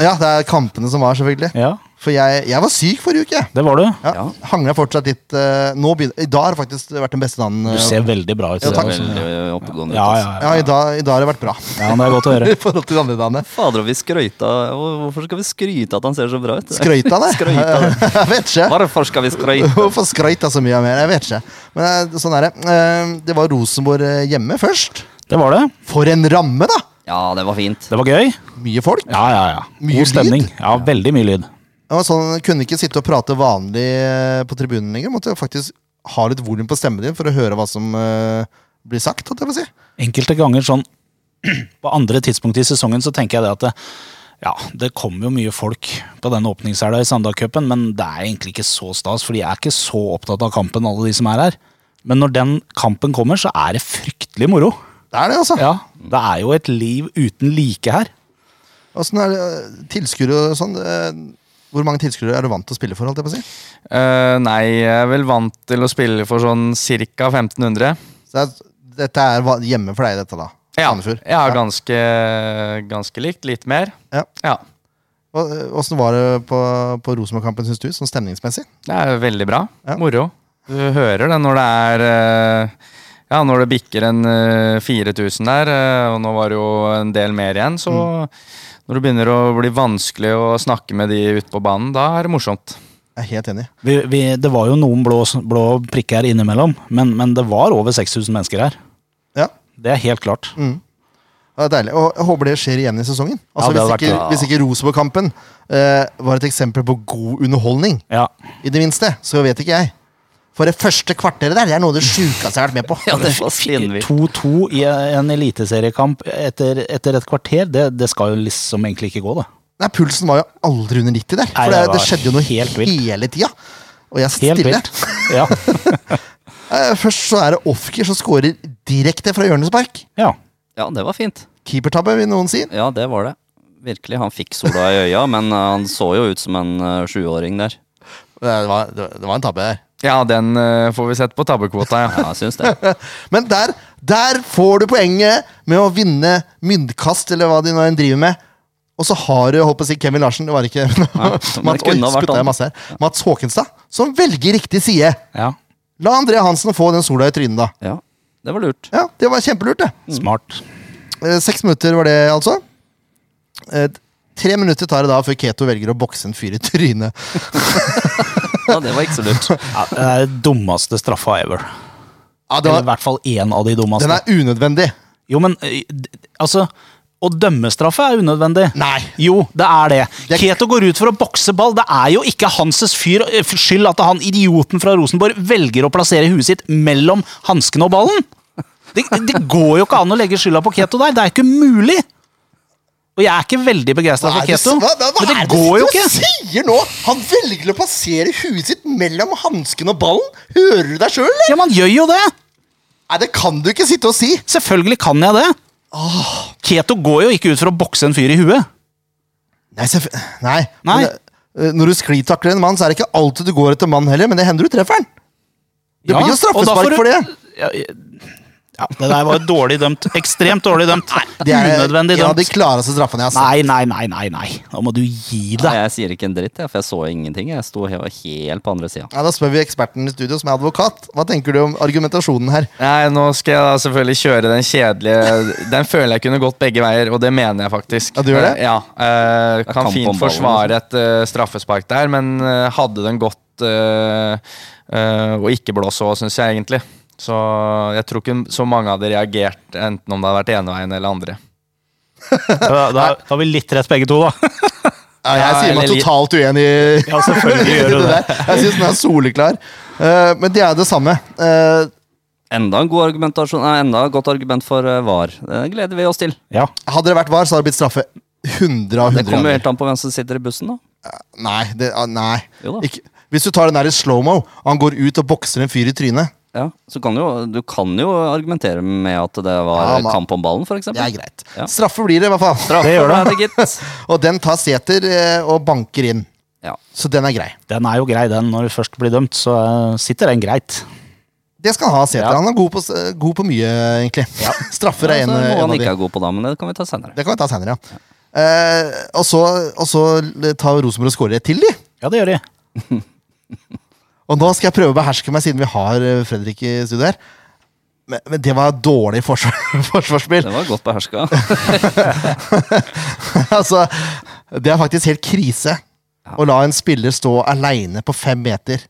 Speaker 2: ja, det er kampene som var, selvfølgelig.
Speaker 1: Ja,
Speaker 2: For jeg, jeg var syk forrige uke. jeg.
Speaker 1: det var du.
Speaker 2: Ja.
Speaker 4: Ja.
Speaker 2: Hangler fortsatt litt eh, nå begynner, I dag har det faktisk vært den beste dagen. eh,
Speaker 1: Du ser veldig bra ut.
Speaker 2: Ja,
Speaker 1: i
Speaker 4: Det er
Speaker 2: takk.
Speaker 1: dag.
Speaker 4: veldig oppegående.
Speaker 1: Ja,
Speaker 4: ut,
Speaker 1: ja,
Speaker 4: altså.
Speaker 2: ja, i dag, i dag har det vært bra.
Speaker 1: ja, men det er godt å høre.
Speaker 2: [laughs] I forhold til de andre dagene.
Speaker 4: Fader, og vi skrøyta og Hvorfor skal vi skryte at han ser så bra ut?
Speaker 2: Skrøyt av det? [laughs]
Speaker 4: Skrøyt av det.
Speaker 2: Jeg vet ikke.
Speaker 4: Hvorfor skal vi skryte?
Speaker 2: Hvorfor skrøt jeg så mye av mer? Jeg vet ikke. Men eh, sånn er det. Eh, Det var Rosenborg eh, hjemme først.
Speaker 1: Det var det.
Speaker 2: For en ramme, da!
Speaker 4: Ja, det var fint.
Speaker 1: Det var gøy.
Speaker 2: Mye folk.
Speaker 1: Ja, ja, ja.
Speaker 2: Mye lyd?
Speaker 1: God stemning. Ja, veldig mye lyd.
Speaker 2: Det var sånn, Kunne ikke sitte og prate vanlig eh, på tribunen lenger. Måtte faktisk ha litt volum på stemmen din for å høre hva som eh, blir sagt. holdt Jeg på å si.
Speaker 1: Enkelte ganger sånn på andre tidspunkt i sesongen så tenker jeg det at det, ja, det kommer jo mye folk på denne åpningshelga i Sandalcupen, men det er egentlig ikke så stas, for de er ikke så opptatt av kampen, alle de som er her. Men når den kampen kommer, så er det fryktelig moro.
Speaker 2: Det er det, altså.
Speaker 1: Ja, Det er jo et liv uten like her.
Speaker 2: Åssen er det, eh, tilskuere og sånn? eh, Hvor mange tilskuere er du vant til å spille for? holdt jeg på å si?
Speaker 3: Eh, nei, jeg er vel vant til å spille for sånn ca. 1500.
Speaker 2: Så det er, dette er va- hjemme for deg, dette da?
Speaker 3: Ja,
Speaker 2: Sandefjord.
Speaker 3: ja ganske, ganske likt. Litt mer.
Speaker 2: Ja.
Speaker 3: ja.
Speaker 2: eh, Åssen var det på, på Rosenborg-kampen, syns du? Sånn stemningsmessig?
Speaker 3: Det er veldig bra.
Speaker 2: Ja.
Speaker 3: Moro. Du hører det når det er eh, Ja, når det bikker en eh, 4000 der, eh, og nå var det jo en del mer igjen, så når det begynner å bli vanskelig å snakke med de ute på banen, da er det morsomt.
Speaker 2: Jeg er helt enig.
Speaker 1: Vi, vi, det var jo noen blå, blå prikker her innimellom, men, men det var over 6000 mennesker her.
Speaker 2: Ja,
Speaker 1: Det er helt klart.
Speaker 2: Mm. det er deilig. Og jeg håper det skjer igjen i sesongen.
Speaker 1: Ja, det
Speaker 2: Altså, hvis,
Speaker 1: hadde vært
Speaker 2: ikke, hvis ikke Rosenborg-kampen eh, var et eksempel på god underholdning,
Speaker 1: Ja,
Speaker 2: i det minste, så vet ikke jeg. For det første kvarteret der, det er noe av det sjukeste jeg har vært med
Speaker 1: [laughs]
Speaker 2: på.
Speaker 4: Ja, det var svinvilt.
Speaker 1: 2-2 i en eliteseriekamp etter, etter et kvarter, det, det skal jo liksom egentlig ikke gå, da.
Speaker 2: Nei, pulsen var jo aldri under 90 der.
Speaker 1: Nei,
Speaker 2: For det,
Speaker 1: det var
Speaker 2: det skjedde jo noe
Speaker 1: helt
Speaker 2: helt
Speaker 1: vilt.
Speaker 2: hele tida. Og jeg
Speaker 1: Helt
Speaker 2: stiller.
Speaker 1: vilt. Ja.
Speaker 2: Eh, Først så er det Ofker som scorer direkte fra hjørnespark.
Speaker 1: ja.
Speaker 4: Ja, det var fint.
Speaker 2: Keepertabbe, vil noen si.
Speaker 4: Ja, det var det. Virkelig. Han fikk sola i øya, men eh, han så jo ut som en eh, sjuåring der.
Speaker 2: Eh, Det var, det var- det var en tabbe der.
Speaker 3: Ja, den eh, får vi sett på tabbekvota, ja.
Speaker 4: Ja, jeg syns det.
Speaker 2: Men der, der får du poenget med å vinne myntkast, eller hva de nå enn driver med. Og så har du holdt på å si Kevin Larsen, det var ikke [laughs] Mats,
Speaker 4: men det kunne
Speaker 2: oi,
Speaker 4: ha vært
Speaker 2: spytta jeg
Speaker 4: han.
Speaker 2: masse her. Mats Håkenstad, som velger riktig side.
Speaker 1: ja.
Speaker 2: La André Hansen få den sola i trynet, da.
Speaker 4: Ja, det var lurt.
Speaker 2: Ja, Det var kjempelurt, det.
Speaker 1: Smart.
Speaker 2: Eh, Seks minutter var det, altså. Eh, Tre minutter tar det da før Keto velger å bokse en fyr i trynet.
Speaker 4: Ja, det var ikke så [laughs] lurt.
Speaker 1: Ja, det er den dummeste straffa ever.
Speaker 2: Ja, det
Speaker 1: Eller i
Speaker 2: var,
Speaker 1: hvert fall én av de dummeste.
Speaker 2: den er unødvendig.
Speaker 1: Jo, men ø, d- altså Å dømme straffe er unødvendig.
Speaker 2: Nei.
Speaker 1: Jo, det er det.
Speaker 2: Det-
Speaker 1: Keto går ut for å bokse ball. Det er jo ikke Hanses fyr ø, skyld at han idioten fra Rosenborg velger å plassere huet sitt mellom hanskene og ballen. Det, det går jo ikke an å legge skylda på Keto der. Det er ikke mulig. Og jeg er ikke veldig begeistra for
Speaker 2: Hva er det,
Speaker 1: Keto,
Speaker 2: hva, hva, hva
Speaker 1: men det
Speaker 2: er det
Speaker 1: går jo
Speaker 2: du
Speaker 1: ikke.
Speaker 2: sier nå? Han velger å plassere huet sitt mellom hansken og ballen. Hører du deg sjøl, eller?
Speaker 1: Ja, man gjør jo det.
Speaker 2: Nei, det kan du ikke sitte og si.
Speaker 1: Selvfølgelig kan jeg det. Keto går jo ikke ut for å bokse en fyr i huet.
Speaker 2: Nei, selvfø- Nei.
Speaker 1: Nei.
Speaker 2: Men, eh, når du sklitakler en mann, så er det ikke alltid du går etter mannen heller, men det hender du treffer han. Det
Speaker 1: Ja,
Speaker 2: blir jo
Speaker 1: og da får
Speaker 2: straffespark
Speaker 1: du-
Speaker 2: for det.
Speaker 1: Ja, ja, det der var dårlig dømt. Ekstremt dårlig dømt.
Speaker 2: Det er
Speaker 1: Unødvendig
Speaker 2: en av
Speaker 1: dømt.
Speaker 2: de klareste straffene jeg har sett.
Speaker 1: Nei, nei, nei, nei, nei. Nå må du gi
Speaker 4: Nei,
Speaker 1: deg.
Speaker 4: jeg sier ikke en dritt, jeg, for jeg så ingenting. Jeg sto he- helt på andre sida.
Speaker 2: Ja, da spør vi eksperten i studio, som er advokat. Hva tenker du om argumentasjonen her?
Speaker 3: Nei, nå skal jeg da selvfølgelig kjøre den kjedelige Den føler jeg kunne gått begge veier, og det mener jeg faktisk.
Speaker 2: Ja, du gjør det?
Speaker 3: Eh, Ja, eh, Kan
Speaker 4: kamp om
Speaker 3: fint
Speaker 4: ballen,
Speaker 3: forsvare et eh, straffespark der, men eh, hadde den gått eh, eh, og ikke blåst så, syns jeg egentlig. Så jeg tror ikke så mange hadde reagert, enten om det hadde vært ene veien eller andre.
Speaker 1: Da, da, da har vi litt rett begge to, da.
Speaker 2: Ja, jeg
Speaker 3: Ja,
Speaker 2: sier meg
Speaker 3: eller-
Speaker 2: totalt uenig i
Speaker 1: Ja, [laughs] selvfølgelig gjør du det.
Speaker 2: Jeg syns den er soleklar. Eh, men det er det samme. Eh,
Speaker 4: Enda en god argumentasjon Nei, enda et godt argument for eh, VAR. Det gleder vi oss til.
Speaker 1: Ja.
Speaker 2: hadde det vært var, så hadde det blitt straffe 100 av
Speaker 4: Det
Speaker 2: 100.
Speaker 4: kommer jo
Speaker 2: ganger.
Speaker 4: helt an på hvem som sitter i bussen, da.
Speaker 2: Nei, det, ah, nei.
Speaker 4: Jo da.
Speaker 2: Ikke, hvis du tar den der i slow-mo, og han går ut og bokser en fyr i trynet
Speaker 4: Ja, så kan du, jo- du kan jo argumentere med at det var
Speaker 2: Ja, men-
Speaker 4: kamp om ballen, for
Speaker 2: Det er
Speaker 4: eksempel.
Speaker 2: greit.
Speaker 4: Ja.
Speaker 2: Straffe blir det, i hvert fall.
Speaker 4: Straffe,
Speaker 1: Det gjør
Speaker 4: var det, gitt.
Speaker 2: [laughs] Og den tar Sæter eh, og banker inn.
Speaker 4: Ja.
Speaker 2: Så den er grei.
Speaker 1: Den er jo grei, den. Når du først blir dømt, så eh, sitter den greit.
Speaker 2: Det skal han ha, Sæter.
Speaker 1: Ja.
Speaker 2: Han er god på, s- eh, god på mye, egentlig. [laughs] Straffer er
Speaker 4: Ja, så
Speaker 2: en,
Speaker 4: noe
Speaker 2: eh, en
Speaker 4: han
Speaker 2: av de.
Speaker 4: ikke er god på da, men det kan vi ta senere.
Speaker 2: Det kan vi ta senere, ja. Eh, og, så, og så tar Rosenborg og skårer et til, de.
Speaker 1: Ja, det gjør de.
Speaker 2: Og nå skal jeg prøve å beherske meg, siden vi har eh, Fredrik i studio her. Men, men det var dårlig forsvar, [laughs] forsvarsspill.
Speaker 4: Det var godt beherska.
Speaker 2: [laughs] altså, det er faktisk helt krise å la en spiller stå aleine på fem meter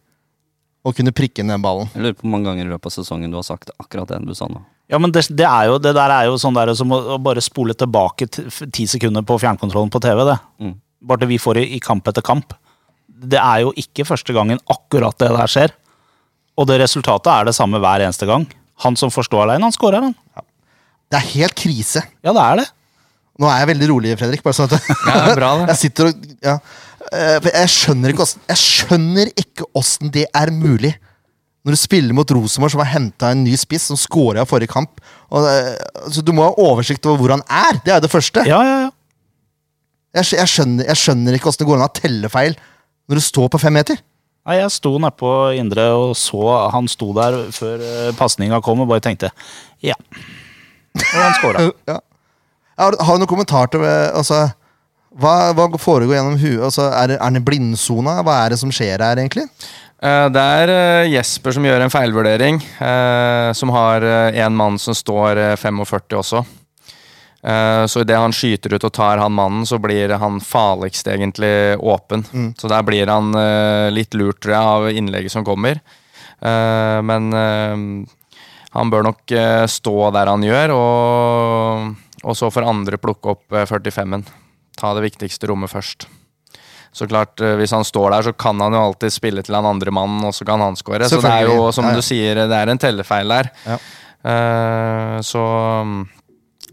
Speaker 2: og kunne prikke inn den ballen.
Speaker 4: Jeg lurer på hvor mange ganger i løpet av sesongen du har sagt akkurat det du sa nå.
Speaker 1: Ja, men det, det, er jo, det der er jo sånn der som å, å bare spole tilbake t- f- ti sekunder på fjernkontrollen på TV. det.
Speaker 4: Mm.
Speaker 1: Bare til vi får i, i kamp etter kamp. Det er jo ikke første gangen akkurat det der skjer. Og det resultatet er det samme hver eneste gang. Han som får stå alene, han scorer, han.
Speaker 2: Det er helt krise.
Speaker 1: Ja, det er det.
Speaker 2: Nå er jeg veldig rolig, Fredrik. Bare sånn at [laughs]
Speaker 3: [laughs] Ja, det er bra, det.
Speaker 2: jeg sitter og ja. Eh, for Jeg skjønner ikke åssen Jeg skjønner ikke åssen det er mulig. Når du spiller mot Rosenborg, som har henta en ny spiss, som scora i forrige kamp. Og, eh, så du må ha oversikt over hvor han er. Det er jo det første.
Speaker 1: Ja, ja, ja.
Speaker 2: Jeg, skj- jeg, skjønner, jeg skjønner ikke åssen det går an å telle feil når du står på fem meter.
Speaker 1: Nei, jeg sto nedpå indre og så han sto der før uh, pasninga kom, og bare tenkte ja. Og han scora.
Speaker 2: Ja. Har, har du noen kommentar til eh, altså, hva, hva foregår gjennom huet? Altså, er, det- er det blindsona? Hva er det som skjer her, egentlig?
Speaker 3: Eh, Det er eh, Jesper som gjør en feilvurdering, eh, som har eh, en mann som står eh, 45 også. Eh, Så idet han skyter ut og tar han mannen, så blir han farligst egentlig åpen.
Speaker 2: Mm.
Speaker 3: Så der blir han eh, litt lurt, tror jeg, av innlegget som kommer. Eh, Men eh, han bør nok eh, stå der han gjør, og, og så får andre plukke opp eh, 45-en. Ta det viktigste rommet først. Så klart, eh, Hvis han står der, så kan han jo alltid spille til han andre mannen, og så kan han score. Så det er jo,
Speaker 2: Selvfølgelig.
Speaker 3: som
Speaker 2: Ja, ja.
Speaker 3: du sier, det er en tellefeil der.
Speaker 2: Ja.
Speaker 3: Eh, så,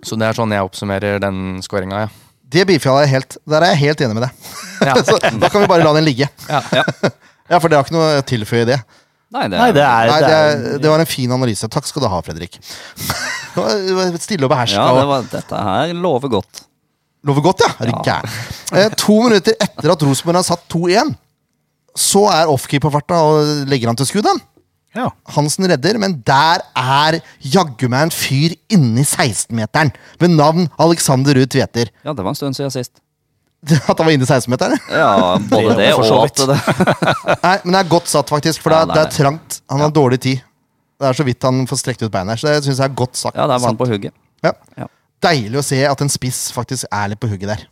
Speaker 3: så det er sånn jeg oppsummerer den skåringa, ja.
Speaker 2: Det beefer jeg helt. Der er jeg helt enig med deg. [laughs]
Speaker 3: Ja.
Speaker 2: Så da kan vi bare la den ligge.
Speaker 3: Ja.
Speaker 2: Ja, for det har ikke noe å tilføye i det.
Speaker 4: Nei, det
Speaker 1: Nei,
Speaker 4: er
Speaker 1: det er,
Speaker 2: Nei,
Speaker 1: det er,
Speaker 2: det, var en fin analyse. Takk skal du ha, Fredrik. [laughs] Det var Stille og beherska.
Speaker 4: Ja, det var, dette her lover godt.
Speaker 2: Lover godt, ja? Er du gæren? Eh, To minutter etter at Rosenborg har satt 2-1, så er offkeeper farta og legger han til skudd. Han.
Speaker 1: ja.
Speaker 2: Hansen redder, men der er jaggu meg en fyr inni 16-meteren ved navn Alexander Ruud Tveter. [laughs]
Speaker 4: Ja, det var en stund siden sist.
Speaker 2: At han var inne i 16-meteren?
Speaker 4: [laughs] Ja, både det
Speaker 1: for
Speaker 4: og
Speaker 1: så
Speaker 4: at det
Speaker 2: Nei, men det er godt satt, faktisk, for
Speaker 4: Ja,
Speaker 2: det, er,
Speaker 4: det er
Speaker 2: det er trangt. Han har dårlig tid. Det er så vidt han får strekt ut beina her, så det syns jeg er godt sagt.
Speaker 4: Ja, der var han
Speaker 2: satt.
Speaker 4: på hugget.
Speaker 2: Ja.
Speaker 4: Ja.
Speaker 2: Deilig å se at en spiss faktisk er litt på hugget der.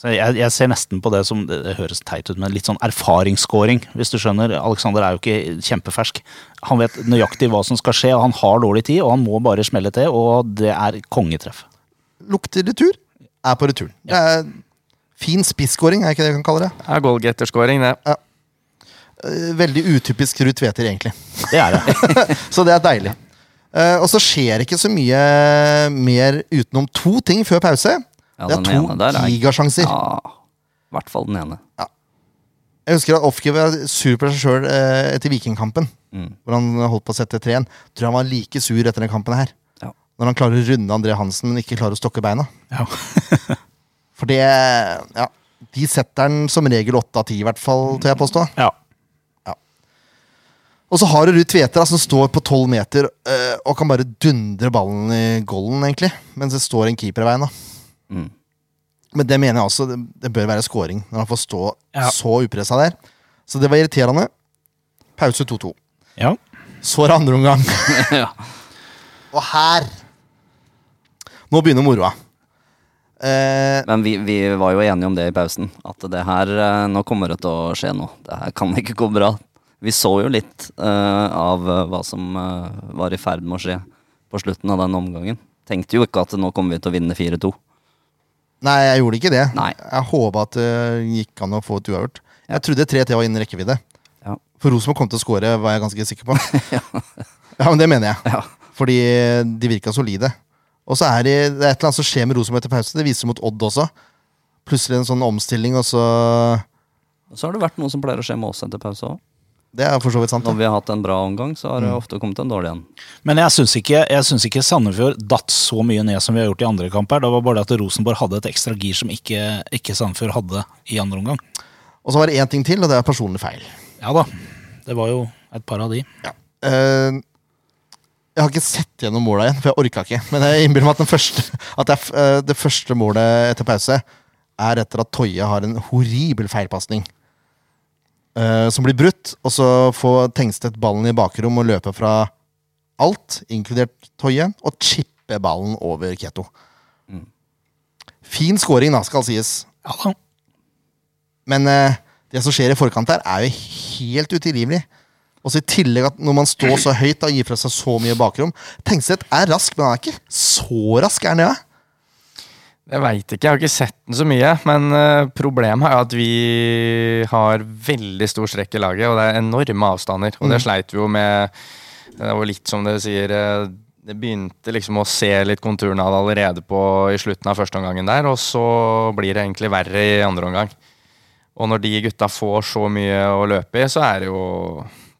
Speaker 1: Så jeg, jeg ser nesten på det som det, det høres teit ut, men litt sånn erfaringsscoring, hvis du skjønner. Alexander er jo ikke kjempefersk. Han vet nøyaktig hva som skal skje, og han har dårlig tid, og han må bare smelle til, og det er kongetreff.
Speaker 2: Lukter retur, er på returen. Det er fin spisskåring, er ikke det vi kan kalle det?
Speaker 3: Det er goalgetterskåring, det.
Speaker 2: Eh, Veldig utypisk Ruud Tveter, egentlig.
Speaker 1: Det er det.
Speaker 2: Så det er deilig. Eh, og så skjer det ikke så mye mer utenom to ting før pause.
Speaker 4: Ja,
Speaker 2: det
Speaker 4: den
Speaker 2: er
Speaker 4: ene der
Speaker 2: to
Speaker 4: er-
Speaker 2: gigasjanser.
Speaker 4: Ja, i hvert fall den ene. [laughs]
Speaker 2: Jeg husker at Ofke var sur på seg sjøl eh, etter Vikingkampen. Hvor han holdt på å sette 3-1. Tror han var like sur etter den kampen her.
Speaker 4: Ja.
Speaker 2: Når han klarer å runde André Hansen, men ikke klarer å stokke beina.
Speaker 1: [laughs] Ja.
Speaker 2: For det Ja. De setter den som regel åtte av ti, i hvert fall, tør jeg påstå.
Speaker 1: Ja.
Speaker 2: Og så har du Ruud Tveter da, som står på tolv meter eh, og kan bare dundre ballen i golden, egentlig. Mens det står en keeper i veien. da.
Speaker 4: Mm.
Speaker 2: Men det mener jeg også, det, det bør være scoring når han får stå
Speaker 1: Ja.
Speaker 2: så upressa der. Så det var irriterende. Pause 2-2.
Speaker 1: ja.
Speaker 2: Så er det andre omgang.
Speaker 4: Ja.
Speaker 2: og her Nå begynner moroa. Eh,
Speaker 4: Men vi, vi var jo enige om det i pausen. At det her eh, Nå kommer det til å skje noe. Det her kan ikke gå bra. Vi så jo litt eh, av eh, hva som eh, var i ferd med å skje på slutten av den omgangen. Tenkte jo ikke at nå kommer vi til å vinne 4-2.
Speaker 2: nei, jeg gjorde ikke det.
Speaker 4: Nei.
Speaker 2: Jeg håpa at det gikk an å få et uavgjort. Jeg trodde 3-3 var innen rekkevidde.
Speaker 4: Ja.
Speaker 2: For Rosenborg kom til å score, var jeg ganske sikker på. ja, men det mener jeg.
Speaker 4: [laughs] Ja.
Speaker 2: Fordi eh, de virka solide. Og så er det, det er et eller annet som skjer med Rosenborg etter pause. Det viser mot Odd også. Plutselig en sånn omstilling, og så
Speaker 4: Så har det vært noe som pleier å skje med oss etter pause òg.
Speaker 2: Det er for så vidt sant.
Speaker 4: Når
Speaker 2: da.
Speaker 4: vi har hatt en bra omgang, så har det ofte kommet en dårlig en.
Speaker 1: Men jeg syns ikke, jeg syns ikke Sandefjord datt så mye ned som vi har gjort i andre kamper. Det var bare det at Rosenborg hadde et ekstra gir som ikke, ikke Sandefjord hadde i andre omgang.
Speaker 2: Og så var det én ting til, og det er personlig feil.
Speaker 1: Ja da. Det var jo et par av de.
Speaker 2: Eh, jeg har ikke sett gjennom måla igjen, for jeg orka ikke. Men jeg innbiller meg at, den første, at det, er f- eh, det første målet etter pause er etter at Toye har en horribel feilpasning. eh, som blir brutt, og så får Tengstedt ballen i bakrom og løper fra alt, inkludert Toye, og chipper ballen over Keto. Fin scoring, da, skal sies.
Speaker 1: Ja [laughs] da.
Speaker 2: Men eh, det som skjer i forkant her, er jo helt utilgivelig. Og så i tillegg at når man står så høyt da, og gir fra seg så mye bakrom Tenkstedt er rask, men han er ikke så rask, er han det? da? [laughs]
Speaker 3: Jeg veit ikke, jeg har ikke sett den så mye. Men eh, problemet er jo at vi har veldig stor strekk i laget, og det er enorme avstander. Og det sleit vi jo med eh, Det var litt som dere sier eh, Det begynte liksom å se litt konturene av det allerede på i slutten av første omgangen der, og så blir det egentlig verre i andre omgang. Og når de gutta får så mye å løpe i, så er det jo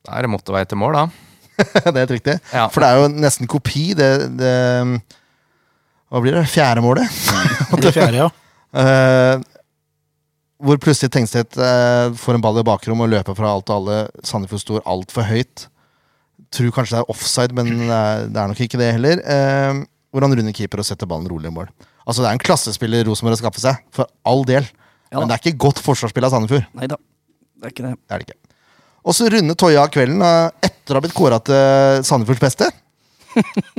Speaker 3: Da er det motorvei til mål, da.
Speaker 2: det er helt riktig.
Speaker 3: Ja.
Speaker 2: For det er jo nesten kopi, det, det Hva blir det? Fjerde målet?
Speaker 1: Det fjerde, ja.
Speaker 2: Eh, hvor plutselig Tengstedt eh, får en ball i bakrom og løper fra alt og alle. Sandefjord står altfor høyt. Tror kanskje det er offside, men det er, det er nok ikke det heller. Eh, hvor han runder keeper og setter ballen rolig i mål. Altså Det er en klassespiller Rosenborg har skaffet seg, for all del.
Speaker 4: Ja da.
Speaker 2: Men det er ikke godt forsvarsspill av Sandefjord.
Speaker 4: Nei da, det er ikke det.
Speaker 2: Det er det ikke. Og så runder Toya av kvelden eh, etter å ha blitt kåra til Sandefjords beste.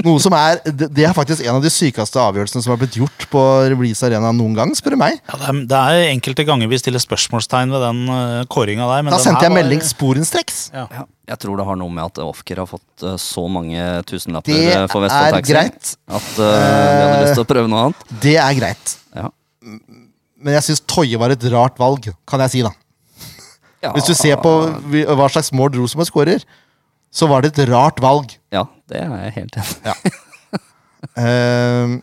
Speaker 2: Noe som er, det det er faktisk en av de sykeste avgjørelsene som har blitt gjort på Release Arena noen gang, spør du meg.
Speaker 1: Ja, det, er, det er enkelte ganger vi stiller spørsmålstegn ved den uh, kåringa der. Men
Speaker 2: Da
Speaker 1: den
Speaker 2: sendte
Speaker 1: her
Speaker 2: jeg
Speaker 1: var-
Speaker 2: melding sporenstreks.
Speaker 4: Ja, jeg tror det har noe med at Ofker har fått eh, så mange tusenlapper
Speaker 2: Det
Speaker 4: eh, for Vestfold
Speaker 2: er
Speaker 4: Taxi
Speaker 2: greit.
Speaker 4: at eh, vi hadde lyst til å prøve noe annet.
Speaker 2: Det er greit.
Speaker 4: Ja.
Speaker 2: Men jeg syns Toje var et rart valg, kan jeg si, da.
Speaker 4: Ja. altså,
Speaker 2: Hvis du ser på vi- hva slags mål Rosenborg skårer, så var det et rart valg.
Speaker 4: Ja, det er jeg helt enig i.
Speaker 2: Ehm,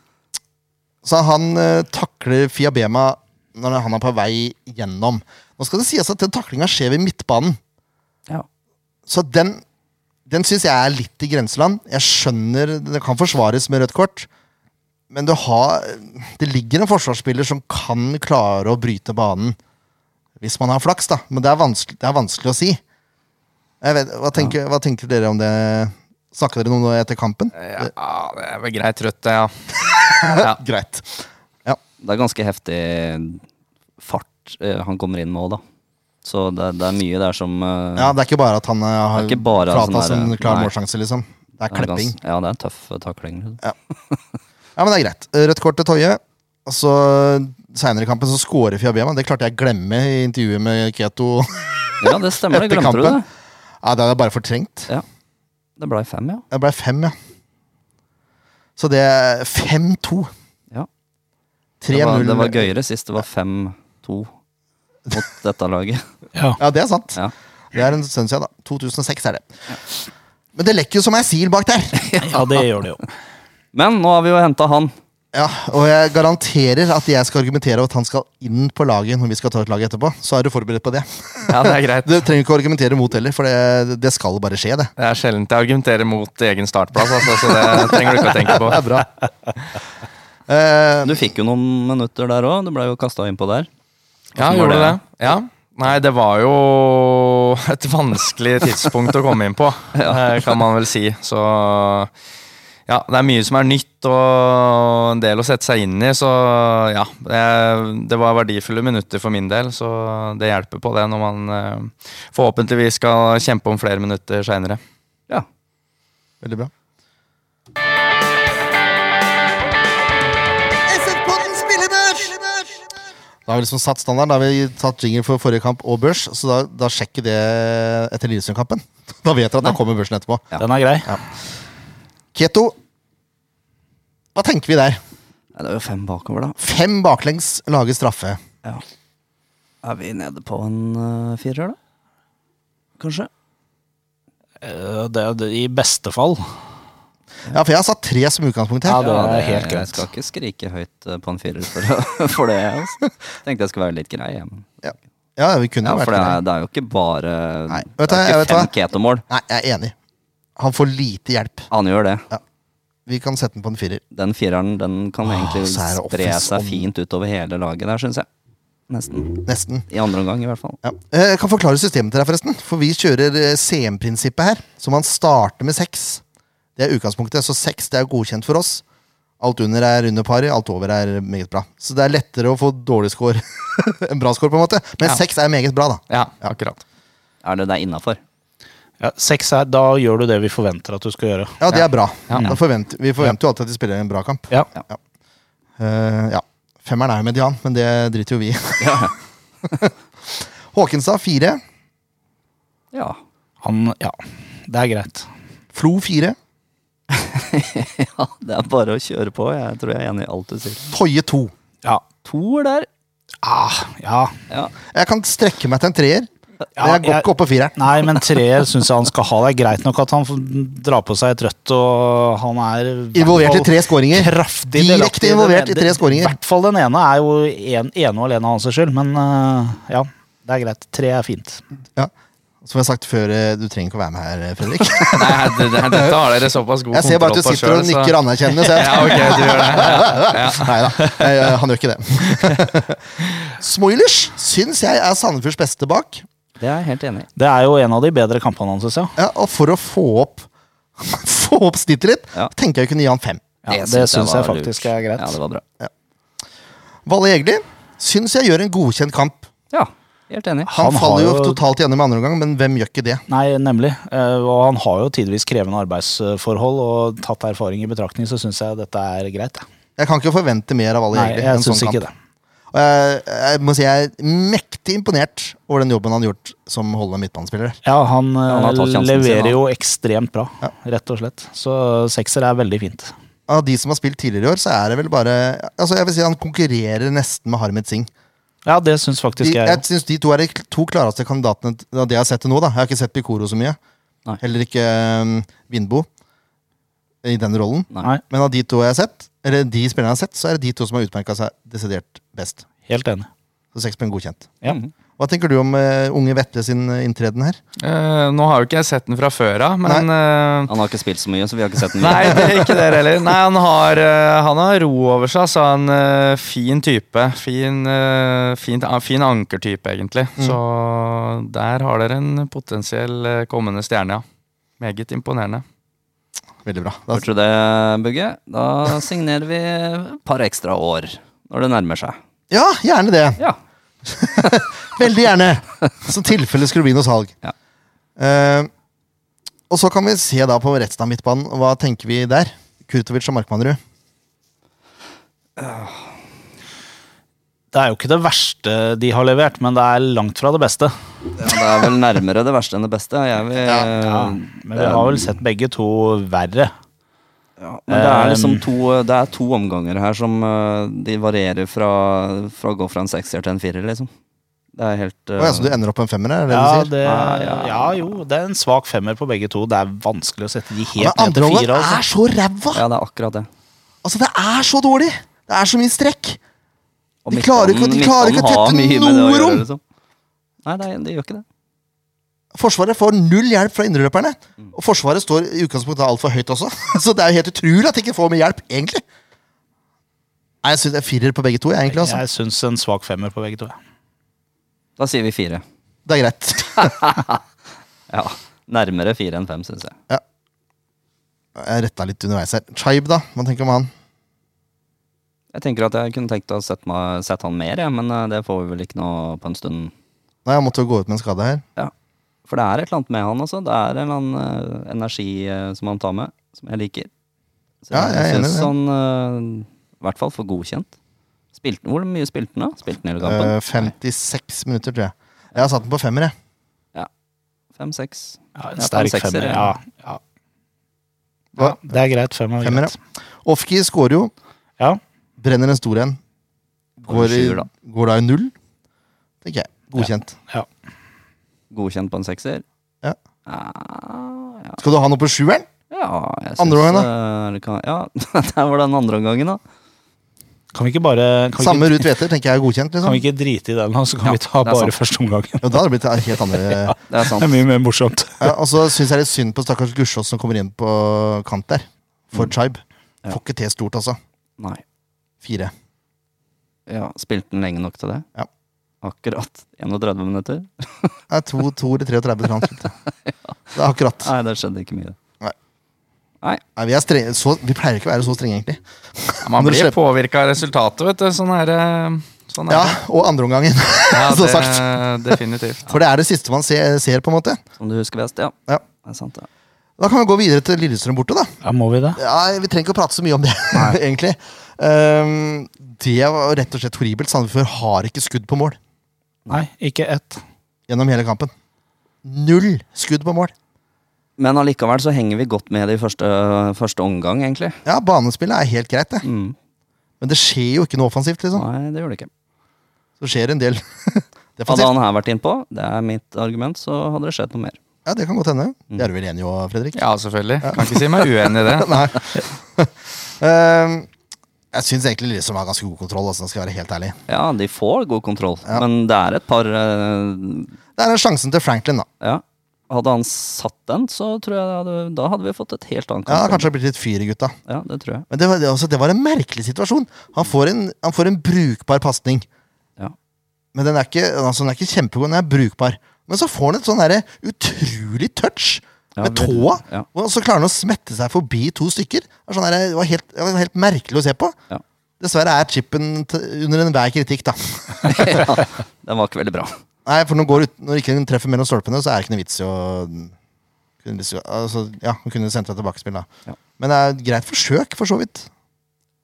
Speaker 2: så han eh, takler Fiabema når han er på vei gjennom. Nå skal det sies at den taklinga skjer ved midtbanen.
Speaker 4: Ja.
Speaker 2: Så den, den syns jeg er litt i grenseland. Jeg skjønner det kan forsvares med rødt kort, men du har, det ligger en forsvarsspiller som kan klare å bryte banen. Hvis man har flaks, da. Men det er vanskelig, det er vanskelig å si. Jeg vet, hva, tenker, hva tenker dere om det? Snakka dere noe om det etter kampen?
Speaker 3: Ja, det er vel greit trøtt, det, ja.
Speaker 2: Greit.
Speaker 4: Det er ganske heftig fart eh, han kommer inn med òg, da. Så det, det er mye der som eh,
Speaker 2: Ja, det er ikke bare at han eh, har
Speaker 4: Det er ikke bare
Speaker 2: fratatt
Speaker 4: sånn der-
Speaker 2: en klar
Speaker 4: nei.
Speaker 2: målsjanse, liksom. Det er
Speaker 4: er gans-
Speaker 2: klepping.
Speaker 4: Ja, det er en tøff takling.
Speaker 2: Ja, men det er greit. Rødt kort til Toje. Og så Seinere i kampen så scorer Fiabema. Det klarte jeg å glemme i intervjuet med Keto. [laughs]
Speaker 4: Ja, det stemmer, det
Speaker 2: Etter
Speaker 4: glemte du det.
Speaker 2: kampen. Ja, Det hadde jeg bare fortrengt.
Speaker 4: Det ble fem, ja.
Speaker 2: Det ble fem, ja. Så det er 5-2.
Speaker 4: Ja. Det var,
Speaker 2: 3-0.
Speaker 4: det var gøyere sist. Det var 5-2 mot dette laget. [laughs]
Speaker 1: Ja.
Speaker 2: Ja, det er sant.
Speaker 4: Ja.
Speaker 2: Det er en stund siden, da. 2006 er det. Men det lekker jo som ei sil bak
Speaker 4: [laughs]
Speaker 2: der.
Speaker 1: ja, det gjør det jo.
Speaker 4: Men nå har vi jo henta han.
Speaker 2: Ja, Og jeg garanterer at jeg skal argumentere over at han skal inn på laget når vi skal ta ut laget etterpå. Så er du forberedt på det.
Speaker 3: ja. Det er greit.
Speaker 2: Du trenger ikke å argumentere mot heller, for det, det skal bare skje, det.
Speaker 3: Det er sjelden jeg argumenterer mot egen startplass, altså, så det trenger du ikke å tenke
Speaker 2: [laughs]
Speaker 3: på.
Speaker 2: Det er bra. Eh,
Speaker 4: Du fikk jo noen minutter der òg. Du ble jo kasta innpå der.
Speaker 3: Ja,
Speaker 4: Hvordan var
Speaker 3: gjorde det?
Speaker 4: det?
Speaker 3: Ja. Nei, det var jo et vanskelig tidspunkt å komme inn på, eh, kan man vel si. Så ja, det er mye som er nytt og en del å sette seg inn i, så ja. Det, det var verdifulle minutter for min del, så det hjelper på det når man eh, forhåpentligvis skal kjempe om flere minutter seinere.
Speaker 4: Ja.
Speaker 2: veldig bra. Da har vi liksom satt standard. Da har vi tatt jingle for forrige kamp og børs, så da, da sjekker det etter Lillesund-kampen. [laughs] Da vet dere at da kommer børsen etterpå.
Speaker 4: Ja.
Speaker 1: Den er grei.
Speaker 2: Keto, hva tenker vi der?
Speaker 4: Nei, Det er jo fem bakover, da.
Speaker 2: Fem baklengs lage straffe.
Speaker 4: Ja. Er vi nede på en eh, firer, da? Kanskje?
Speaker 1: Eh, Det, det, I beste fall.
Speaker 2: Ja, for jeg har satt tre som utgangspunkt
Speaker 1: Ja,
Speaker 2: her.
Speaker 1: det er
Speaker 4: jeg-
Speaker 1: helt
Speaker 4: Jeg
Speaker 1: greit.
Speaker 4: skal ikke skrike høyt eh, på en firer for, å- [laughs] for det. Altså. Tenkte jeg skulle være litt grei. jeg, Men.
Speaker 2: Ja, vi kunne
Speaker 4: Ja,
Speaker 2: jo vært
Speaker 4: for det
Speaker 2: det.
Speaker 4: er, det er jo ikke bare
Speaker 2: Nei, vet
Speaker 4: Det
Speaker 2: du hva,
Speaker 4: er
Speaker 2: jeg
Speaker 4: ikke
Speaker 2: vet
Speaker 4: fem
Speaker 2: hva.
Speaker 4: Keto-mål.
Speaker 2: Nei, jeg er enig. Han får lite hjelp.
Speaker 4: Han gjør det.
Speaker 2: Vi kan sette den på en firer.
Speaker 4: Den fireren den kan
Speaker 2: Åh,
Speaker 4: egentlig
Speaker 2: så er det
Speaker 4: spre
Speaker 2: offensivt.
Speaker 4: seg fint utover hele laget der, syns jeg. Nesten.
Speaker 2: Nesten.
Speaker 4: I andre omgang, i hvert fall.
Speaker 2: Ja. Eh, Jeg kan forklare systemet til deg, forresten. For vi kjører eh, CM-prinsippet her. Så man starter med seks. Det er utgangspunktet. Så seks det er godkjent for oss. Alt under er under pari, alt over er meget bra. Så det er lettere å få dårlig score [laughs] enn bra score, på en måte. Men
Speaker 3: Ja.
Speaker 2: seks er meget bra, da.
Speaker 3: Ja, akkurat.
Speaker 4: Er det det innafor?
Speaker 1: Ja, seks er, da gjør du det vi forventer at du skal gjøre.
Speaker 2: Ja, det er bra.
Speaker 3: Ja.
Speaker 2: Da forventer, vi forventer jo alltid at de spiller en bra kamp.
Speaker 1: Ja.
Speaker 2: Eh, ja. Femmeren er jo median, men det driter jo vi i. [laughs]
Speaker 4: Ja.
Speaker 2: Håkenstad fire.
Speaker 4: ja. [laughs]
Speaker 1: Han, ja. Det er greit.
Speaker 2: Flo fire.
Speaker 4: Ja, det er bare å kjøre på. Jeg tror jeg er enig i alt du sier.
Speaker 2: Toje to.
Speaker 1: Ja.
Speaker 4: Toer der.
Speaker 1: Ah, ja.
Speaker 4: Ja.
Speaker 2: Jeg kan strekke meg til en treer.
Speaker 1: Ja,
Speaker 2: men jeg går
Speaker 1: jeg-
Speaker 2: ikke opp på fireren.
Speaker 1: Nei, men treer syns jeg han skal ha. Det er greit nok at han får dra på seg et rødt, og han er
Speaker 2: Involvert i tre skåringer.
Speaker 1: Kraftig
Speaker 2: Direkte
Speaker 1: delaktig den
Speaker 2: involvert i
Speaker 1: ene-
Speaker 2: tre skåringer.
Speaker 1: I hvert fall den ene er jo en, ene og alene hans skyld, men eh, ja. Det er greit. Tre er fint.
Speaker 2: Ja. Som jeg har sagt før, eh, du trenger ikke å være med her, eh,
Speaker 1: [laughs]
Speaker 2: Fredrik.
Speaker 3: Nei, det, det, dette har dere såpass god
Speaker 2: Jeg ser bare at du
Speaker 3: kontroll på
Speaker 2: sitter og
Speaker 3: selv, så-
Speaker 2: nikker anerkjennende.
Speaker 1: [laughs]
Speaker 2: Så
Speaker 3: Ja, ok, du gjør det. [laughs]
Speaker 2: [laughs] Nei da, eh, han gjør ikke det. [laughs] Smoilers syns jeg er Sandefjords beste bak.
Speaker 4: Det er jeg helt enig i.
Speaker 1: Det er jo en av de bedre kampene hans, syns jeg.
Speaker 2: Ja, og for å få opp [laughs] Få opp snittet litt,
Speaker 4: Ja.
Speaker 2: tenker jeg kunne gi han fem.
Speaker 1: Ja, det syns jeg
Speaker 4: var
Speaker 1: faktisk
Speaker 4: lurt.
Speaker 1: er greit.
Speaker 4: Ja, det var bra.
Speaker 2: Valle Egli syns jeg gjør en godkjent kamp.
Speaker 4: Ja, helt enig.
Speaker 2: Han,
Speaker 1: Han har
Speaker 2: faller jo
Speaker 1: jo-
Speaker 2: totalt igjennom i andre omgang, men hvem gjør ikke det?
Speaker 1: Nei, nemlig. Eh, Og han har jo tidvis krevende arbeidsforhold, og tatt erfaring i betraktning, så syns jeg dette er greit. jeg.
Speaker 2: Jeg kan ikke forvente mer av Valle
Speaker 1: Nei,
Speaker 2: Egli. i en
Speaker 1: jeg syns
Speaker 2: sånn
Speaker 1: ikke
Speaker 2: kamp.
Speaker 1: det.
Speaker 2: Og jeg, jeg må si jeg er mektig imponert over den jobben han har gjort som holdende midtbanespiller.
Speaker 1: Ja, han, eh,
Speaker 4: han har tatt sjansen sin,
Speaker 1: leverer
Speaker 4: han.
Speaker 1: jo ekstremt bra, rett og slett. Så sekser er veldig fint.
Speaker 2: Av de som har spilt tidligere i år, så er det vel bare Altså jeg vil si Han konkurrerer nesten med Harmet Singh.
Speaker 1: Ja, det syns
Speaker 2: De,
Speaker 1: faktisk jeg.
Speaker 2: jeg syns de to er de k- to klareste kandidatene t- av det jeg har sett til nå. da Jeg har ikke sett Picoro så mye.
Speaker 4: Nei.
Speaker 2: Heller ikke um, Vindbo i den rollen.
Speaker 1: Nei.
Speaker 2: Men av de to jeg har sett, eller de spillerne jeg har sett, så er det de to som har utmerka seg desidert best.
Speaker 1: Helt enig.
Speaker 2: Så seks poeng godkjent.
Speaker 1: Ja.
Speaker 4: Mm.
Speaker 2: Hva tenker du om eh, unge Vetle sin eh, inntreden her?
Speaker 3: Eh, nå har jo ikke jeg sett den fra før av, men eh,
Speaker 4: Han har ikke spilt så mye, så vi har ikke
Speaker 3: [laughs]
Speaker 4: sett den.
Speaker 3: Nei, det er ikke dere heller. Nei, han har, eh, han har ro over seg, så han eh, fin type. Fin, eh, fint- ah, fin ankertype, egentlig.
Speaker 2: Mm.
Speaker 3: Så der har dere en potensiell eh, kommende stjerne, ja. Meget imponerende.
Speaker 2: Veldig bra. Da,
Speaker 4: Hørte du det, Bugge? Da signerer vi et par ekstra år når det nærmer seg.
Speaker 2: ja, gjerne det.
Speaker 4: Ja.
Speaker 2: Veldig gjerne! Som tilfelle skulle det bli noe salg.
Speaker 4: Ja.
Speaker 2: Eh, og så kan vi se da på resten av midtbanen. Hva tenker vi der? Kurtovic og Markmannrud.
Speaker 1: Det er jo ikke det verste de har levert, men det er langt fra det beste.
Speaker 4: Ja, det er vel nærmere det verste enn det beste. Jeg vil,
Speaker 1: Men vi har vel sett begge to verre.
Speaker 4: Ja, men det er liksom to, det er to omganger her som eh, de varierer fra, fra å gå fra en sekser til en firer, liksom. Det er helt eh,
Speaker 2: Å ja, så du ender opp på en femmer? Er det det
Speaker 1: Ja,
Speaker 2: du sier?
Speaker 1: det,
Speaker 4: Ja, ja.
Speaker 1: ja jo, det er en svak femmer på begge to. Det er vanskelig å sette de
Speaker 2: Men
Speaker 1: helt ned til
Speaker 2: andreholdet
Speaker 1: fire. Altså.
Speaker 2: er så ræva!
Speaker 4: eh, Ja, det er akkurat det.
Speaker 2: Altså, det er så dårlig! Det er så mye strekk!
Speaker 4: Og
Speaker 2: De klarer ikke- de klarer ikke å
Speaker 4: midtbanen har
Speaker 2: tette
Speaker 4: mye med det å
Speaker 2: noe
Speaker 4: gjøre,
Speaker 2: rom!
Speaker 4: liksom. Nei, det, er- det gjør ikke det.
Speaker 2: Forsvaret får null hjelp fra indreløperne.
Speaker 1: Mm.
Speaker 2: Og Forsvaret står i utgangspunktet altfor høyt også, [laughs] så det er jo helt utrolig at de ikke får mer hjelp, egentlig. Nei, Jeg syns det er firer på begge to. Jeg, egentlig, altså.
Speaker 1: Jeg syns en svak femmer på begge to. ja.
Speaker 4: Da sier vi fire.
Speaker 2: Det er greit.
Speaker 4: Ja, nærmere fire enn fem, syns jeg.
Speaker 2: Jeg retta litt underveis her. Chaib, da? Hva tenker du om han?
Speaker 4: Jeg tenker at jeg kunne tenkt å sette, meg, sette han mer, jeg, men eh, det får vi vel ikke noe på en stund.
Speaker 2: Nei, Han måtte jo gå ut med en skade her.
Speaker 4: Ja. For det er et eller annet med han også. Det er en eller annen eh, energi eh, som han tar med, som jeg liker. Så
Speaker 2: Ja, jeg er enig i
Speaker 4: synes
Speaker 2: det.
Speaker 4: han eh, I hvert fall for godkjent. Spilte, hvor mye spilte han, da? Spilte han hele kampen?
Speaker 2: Eh, 56 minutter, tror jeg. Jeg har satt den på femmer, jeg.
Speaker 4: Fem-seks?
Speaker 1: Ja, en
Speaker 4: Ja,
Speaker 1: sterk
Speaker 4: fem-sekser,
Speaker 1: femmer. Ja,
Speaker 4: ja.
Speaker 1: ja. ja,
Speaker 2: Hva?
Speaker 1: det er greit. Fem er
Speaker 2: Femmer,
Speaker 1: greit.
Speaker 2: ja. Ofki scorer jo.
Speaker 1: Ja.
Speaker 2: Brenner en stor en. Går, i,
Speaker 4: Sjuer, da.
Speaker 2: går da i null, tenker jeg. Godkjent.
Speaker 4: Godkjent på en sekser?
Speaker 2: Ja.
Speaker 4: Ah, ja.
Speaker 2: Skal du ha noe på sjueren?
Speaker 4: ja jeg synes,
Speaker 2: Andre gangen,
Speaker 4: eh, det kan- Ja, [laughs] der var den andre omgangen, da.
Speaker 1: Kan vi ikke bare kan vi
Speaker 2: Samme
Speaker 1: ikke,
Speaker 2: Ruud Tveter tenker jeg er godkjent.
Speaker 1: kan
Speaker 2: liksom
Speaker 1: vi ikke drite i den, og så kan
Speaker 4: Ja,
Speaker 1: vi ta
Speaker 4: det er
Speaker 1: bare
Speaker 4: sant.
Speaker 1: første omgangen?
Speaker 2: Jo, da hadde det blitt helt andre
Speaker 1: [laughs]
Speaker 4: Det er sant.
Speaker 1: Det er mye mer morsomt.
Speaker 2: ja, Og så syns jeg litt synd på stakkars Gussiås som kommer inn på kant der.
Speaker 1: Mm.
Speaker 2: For Chaib.
Speaker 4: Ja.
Speaker 2: Får ikke til stort, altså.
Speaker 4: Nei.
Speaker 2: Fire.
Speaker 4: Ja, Spilte han lenge nok til det?
Speaker 2: Ja.
Speaker 4: Akkurat 31 minutter?
Speaker 2: Det er to, to eller 33 til han.
Speaker 1: [laughs]
Speaker 2: Det er akkurat.
Speaker 4: Nei, det skjedde ikke mye.
Speaker 2: Nei, vi, er strenge, så, vi pleier ikke å være så strenge, egentlig.
Speaker 3: Ja,
Speaker 2: Når
Speaker 3: man
Speaker 2: du
Speaker 3: blir
Speaker 2: slipper-
Speaker 3: påvirka av resultatet, vet du. Sånn er, eh, sånn er
Speaker 2: Ja, Og andreomgangen.
Speaker 3: det. Ja,
Speaker 2: [laughs] så
Speaker 3: det-
Speaker 2: sagt.
Speaker 3: Definitivt.
Speaker 2: For det er det siste man ser, ser, på en måte.
Speaker 4: Som du husker best, ja.
Speaker 2: Ja.
Speaker 4: Det er sant, ja.
Speaker 2: Da kan vi gå videre til Lillestrøm borte, da.
Speaker 1: Ja, må vi det?
Speaker 2: Ja, Vi trenger ikke å prate så mye om det, [laughs] egentlig. Ehm, det var rett og slett horribelt. Sandefjord har ikke skudd på mål
Speaker 1: Nei, ikke ett.
Speaker 2: gjennom hele kampen. Null skudd på mål.
Speaker 4: Men allikevel så henger vi godt med i første, første omgang, egentlig.
Speaker 2: Ja, banespillet er helt greit, det.
Speaker 4: Mm.
Speaker 2: Men det skjer jo ikke noe offensivt, liksom.
Speaker 4: Sånn. Nei, det gjør det ikke.
Speaker 2: Så skjer en del [laughs]
Speaker 4: Hadde
Speaker 2: defensivt.
Speaker 4: han her vært innpå, det er mitt argument, så hadde det skjedd noe mer.
Speaker 2: Ja, det kan godt hende. Det er du vel enig i òg, Fredrik? [laughs]
Speaker 3: Ja, selvfølgelig. Kan ikke si meg uenig i det.
Speaker 2: Nei. [laughs] Ehm, jeg syns egentlig Lillestrøm har ganske god kontroll, altså, skal jeg være helt ærlig.
Speaker 4: Ja, de får god kontroll,
Speaker 2: Ja.
Speaker 4: men det er et par eh,
Speaker 2: Det er den sjansen til Franklin, da.
Speaker 4: Ja. Hadde han satt den, så tror jeg det hadde, da hadde vi fått et helt annet
Speaker 2: Ja,
Speaker 4: kampbilde.
Speaker 2: Kanskje det har blitt litt fyr i gutta.
Speaker 4: Ja, det tror jeg. [laughs]
Speaker 2: Men det var, det, altså, det var en merkelig situasjon. Han får en, han får en brukbar pasning.
Speaker 4: Ja.
Speaker 2: Men den er ikke, altså, den er ikke kjempegod, den er brukbar. Men så får han et sånn derre utrolig touch
Speaker 4: Ja,
Speaker 2: med
Speaker 4: veldig.
Speaker 2: tåa.
Speaker 4: Ja.
Speaker 2: Og så klarer han å smette seg forbi to stykker. Det var, sånn derre- det var, helt, det var helt merkelig å se på.
Speaker 4: Ja.
Speaker 2: Dessverre er chipen t under enhver kritikk, da.
Speaker 4: ja, den var ikke veldig bra.
Speaker 2: Nei, for når, går ut, når ikke den treffer mellom stolpene, så er det ikke noe vits i å kunne, liksom- altså, Ja, hun kunne sendt deg tilbakespill, da.
Speaker 4: Ja.
Speaker 2: Men det er et greit forsøk, for så vidt.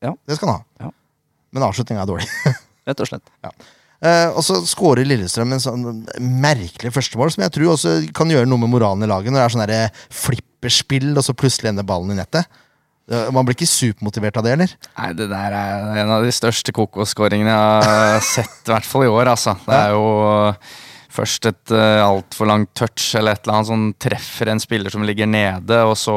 Speaker 4: Ja.
Speaker 2: Det skal han ha.
Speaker 4: Ja.
Speaker 2: Men avslutninga er dårlig. [laughs]
Speaker 4: Rett og slett.
Speaker 2: Eh, og så skårer Lillestrøm en sånn merkelig førstemål, som jeg tror også kan gjøre noe med moralen i laget. Når det er sånn derre flipperspill, og så plutselig ender ballen i nettet. Eh, Man blir ikke supermotivert av det, eller?
Speaker 3: Nei, det der er en av de største kokosskåringene jeg har sett, i hvert fall i år, altså. Det er jo eh, først et uh, altfor langt touch eller et eller annet som treffer en spiller som ligger nede, og så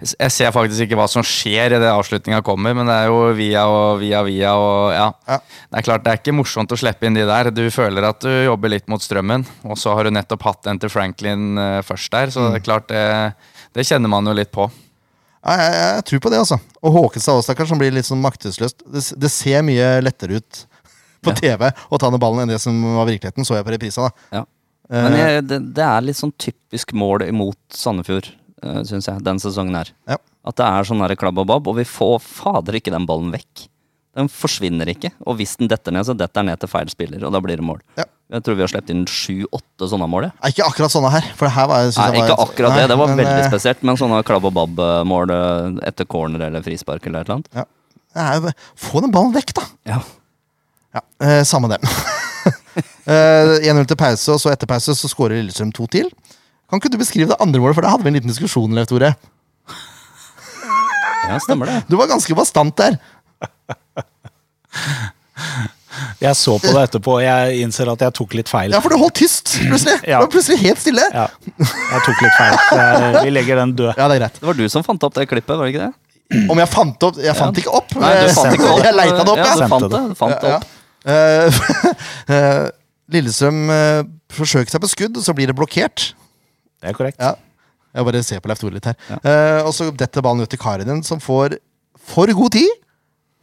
Speaker 3: Jeg ser faktisk ikke hva som skjer idet avslutninga kommer, men det er jo via og via via og ja.
Speaker 2: Ja.
Speaker 3: Det er klart det er ikke morsomt å slippe inn de der. Du føler at du jobber litt mot strømmen, og så har du nettopp hatt den til Franklin eh, først der, så det er klart det, det kjenner man jo litt på.
Speaker 2: Nei, jeg, jeg, tror på det, altså. Og Håkenstad også, stakkars, som blir litt sånn maktesløst. Det, s- det ser mye lettere ut på TV å ta ned ballen enn det som var virkeligheten, så jeg på reprisa, da.
Speaker 4: Ja.
Speaker 2: Eh.
Speaker 4: Men jeg, det, det er litt sånn typisk mål imot Sandefjord, uh, syns jeg, den sesongen her.
Speaker 2: Ja.
Speaker 4: At det er sånn der klabb og babb, og vi får fader ikke den ballen vekk. Den forsvinner ikke, og hvis den detter ned, så detter den ned til feil spiller, og da blir det mål.
Speaker 2: Ja.
Speaker 4: Jeg tror vi har sluppet inn sju-åtte sånne mål, jeg.
Speaker 2: Nei, ikke akkurat sånne her. For det her var, synes
Speaker 4: Nei,
Speaker 2: jeg
Speaker 4: ikke
Speaker 2: var,
Speaker 4: akkurat det, det var
Speaker 2: men,
Speaker 4: veldig
Speaker 2: eh,
Speaker 4: spesielt, men sånne klabb og babb-mål eh, etter corner eller frispark eller et eller annet.
Speaker 2: Ja. Det er jo- Få den ballen vekk, da!
Speaker 4: Ja.
Speaker 2: Ja, eh, Samme det. [laughs] Eh, 1-0 til pause, og så etter pause så skårer Lillestrøm to til. Kan ikke du beskrive det andre målet, for der hadde vi en liten diskusjon, Leif Tore.
Speaker 4: ja, stemmer det.
Speaker 2: Du var ganske bastant der.
Speaker 1: Jeg så på det etterpå, og jeg innser at jeg tok litt feil.
Speaker 2: Ja, for du holdt tyst, plutselig.
Speaker 1: Ja.
Speaker 2: Du var plutselig helt stille.
Speaker 1: Ja, jeg tok litt feil. Det er- Vi legger den død.
Speaker 2: Ja, det er greit.
Speaker 4: Det var du som fant opp det klippet, var det ikke det?
Speaker 2: Om jeg fant opp Jeg fant ikke opp. eh,
Speaker 4: Nei, du fant ikke opp.
Speaker 2: Jeg leita det opp,
Speaker 4: ja.
Speaker 2: jeg.
Speaker 4: Du fant
Speaker 1: Sendte
Speaker 4: det, du fant det
Speaker 2: Ja. Eh, [laughs]
Speaker 4: opp.
Speaker 2: eh, Lillestrøm eh, forsøker seg på skudd, og så blir det blokkert.
Speaker 1: Det er korrekt.
Speaker 2: Ja. Jeg bare ser på Leif Tore litt her. Eh, og så detter ballen ut til Karinen, som får for god tid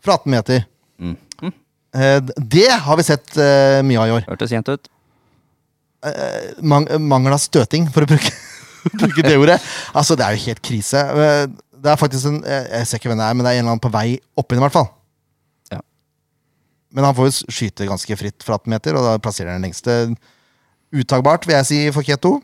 Speaker 2: fra 18 meter.
Speaker 4: Mm.
Speaker 2: Eh, d- det har vi sett eh, mye av i år.
Speaker 4: Hørtes kjent ut.
Speaker 2: Mang mangel av støting, for å bruke, [laughs] bruke det ordet. Altså, det er jo helt krise. Eh, Det er faktisk en Jeg jeg ser ikke hvem det er, men det er en eller annen på vei oppi den, i hvert fall.
Speaker 4: Ja.
Speaker 2: Men han får jo s- skyte ganske fritt fra 18 meter, og da plasserer han den lengste. Utagbart, vil jeg si, for Keto.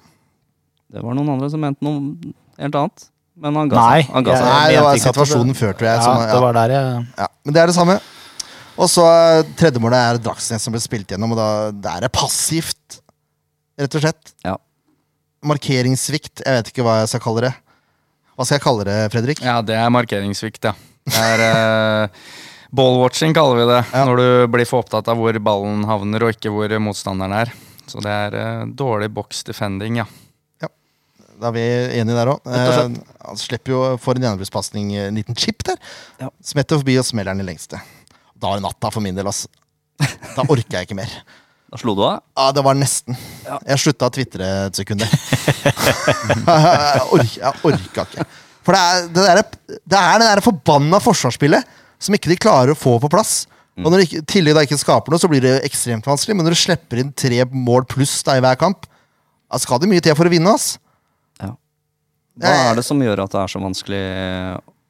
Speaker 4: Det var noen andre som mente noe helt annet. Men han ga
Speaker 1: Nei,
Speaker 4: seg. Han ga
Speaker 1: jeg-
Speaker 4: seg.
Speaker 2: Nei, det
Speaker 1: mente
Speaker 2: var
Speaker 1: ikke at
Speaker 2: situasjonen
Speaker 1: det-
Speaker 2: før, tror jeg.
Speaker 1: Ja,
Speaker 2: som-
Speaker 1: det var der jeg
Speaker 2: Ja, men det er det samme. Og så eh, tredje målet er Dragsnes som ble spilt gjennom, og da det er det passivt, rett og slett.
Speaker 4: Ja.
Speaker 2: Markeringssvikt. Jeg vet ikke hva jeg skal kalle det. Hva skal jeg kalle det, Fredrik?
Speaker 3: Ja, det er markeringssvikt, ja. Det er eh, ballwatching, kaller vi det. Når du blir for opptatt av hvor ballen havner, og ikke hvor motstanderen er. Så det er eh, dårlig box defending, ja.
Speaker 2: Da er vi enige der òg.
Speaker 4: Rett og
Speaker 2: han slipper jo for en gjennombruddspasning, eh, en liten chip der.
Speaker 4: Ja.
Speaker 2: Smetter forbi og smeller den i lengste. Da er det natta for min del, ass. Da orker jeg ikke mer.
Speaker 4: Da slo du av.
Speaker 2: Ja, det var nesten. Jeg slutta å tvitre et sekund der. jeg ork- jeg orka ikke. For det er det, der, det er det der forbanna forsvarsspillet som ikke de klarer å få på plass.
Speaker 4: Mm.
Speaker 2: Og når de ikke, tidlig da ikke skaper noe, så blir det ekstremt vanskelig. Men når du slipper inn tre mål pluss da i hver kamp, da skal det mye til for å vinne. ass.
Speaker 4: Ja. Hva er det som gjør at det er så vanskelig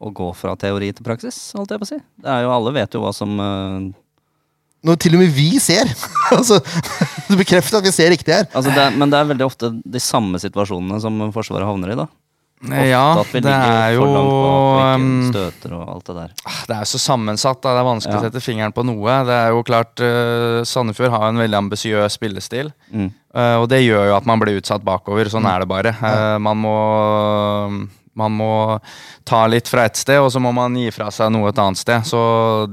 Speaker 4: å gå fra teori til praksis, holdt jeg på å si? Det er jo, alle vet jo hva som eh,
Speaker 2: Når til og med vi ser. [laughs] altså, du bekrefter at vi ser riktig her.
Speaker 4: altså det er, Men det er veldig ofte de samme situasjonene som Forsvaret havner i, da. Ofte
Speaker 3: Ja,
Speaker 4: at vi
Speaker 3: det er
Speaker 4: ligger
Speaker 3: jo
Speaker 4: for langt bak og ikke
Speaker 3: ehm,
Speaker 4: støter og alt det der.
Speaker 3: Det er jo så sammensatt. Da. Det er vanskelig
Speaker 4: Ja.
Speaker 3: å sette fingeren på noe. Det er jo klart eh, Sandefjord har en veldig ambisiøs spillestil.
Speaker 4: Mm.
Speaker 3: Eh, og det gjør jo at man blir utsatt bakover. Sånn er det bare. Eh, man må man må ta litt fra ett sted, og så må man gi fra seg noe et annet sted. Så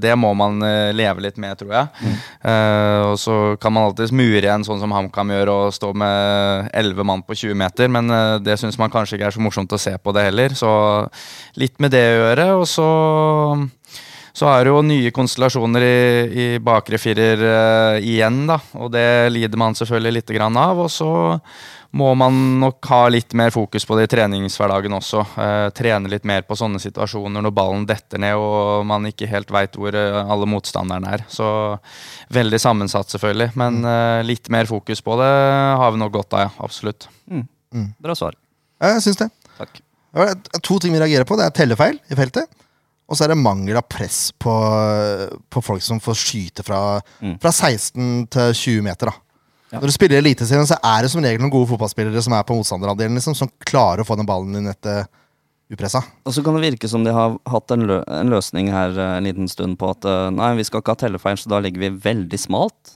Speaker 3: det må man eh, leve litt med, tror jeg. Eh, og så kan man alltids mure igjen, sånn som HamKam gjør, og stå med elleve mann på 20 meter, men eh, det syns man kanskje ikke er så morsomt å se på det heller. Så litt med det å gjøre, og så så er det jo nye konstellasjoner i, i bakre firer eh, igjen, da. Og det lider man selvfølgelig lite grann av. Og så må man nok ha litt mer fokus på det i treningshverdagen også. Eh, trene litt mer på sånne situasjoner når ballen detter ned og man ikke helt veit hvor eh, alle motstanderne er. Så veldig sammensatt, selvfølgelig. Men eh, litt mer fokus på det har vi nok godt av, ja. Absolutt.
Speaker 4: Bra svar.
Speaker 2: Ja, Jeg syns det.
Speaker 4: Takk.
Speaker 2: Det er to ting vi reagerer på. Det er tellefeil i feltet. Og så er det mangel av press på, på folk som får skyte fra,
Speaker 4: Mm.
Speaker 2: fra 16 til 20 meter. da. Når du spiller i Eliteserien, så er det som regel noen gode fotballspillere som er på motstanderandelen, liksom, som klarer å få den ballen i nettet upressa.
Speaker 4: Og så kan det virke som de har hatt en, lø en løsning her eh, en liten stund på at eh, nei, vi skal ikke ha tellefeil, så da ligger vi veldig smalt.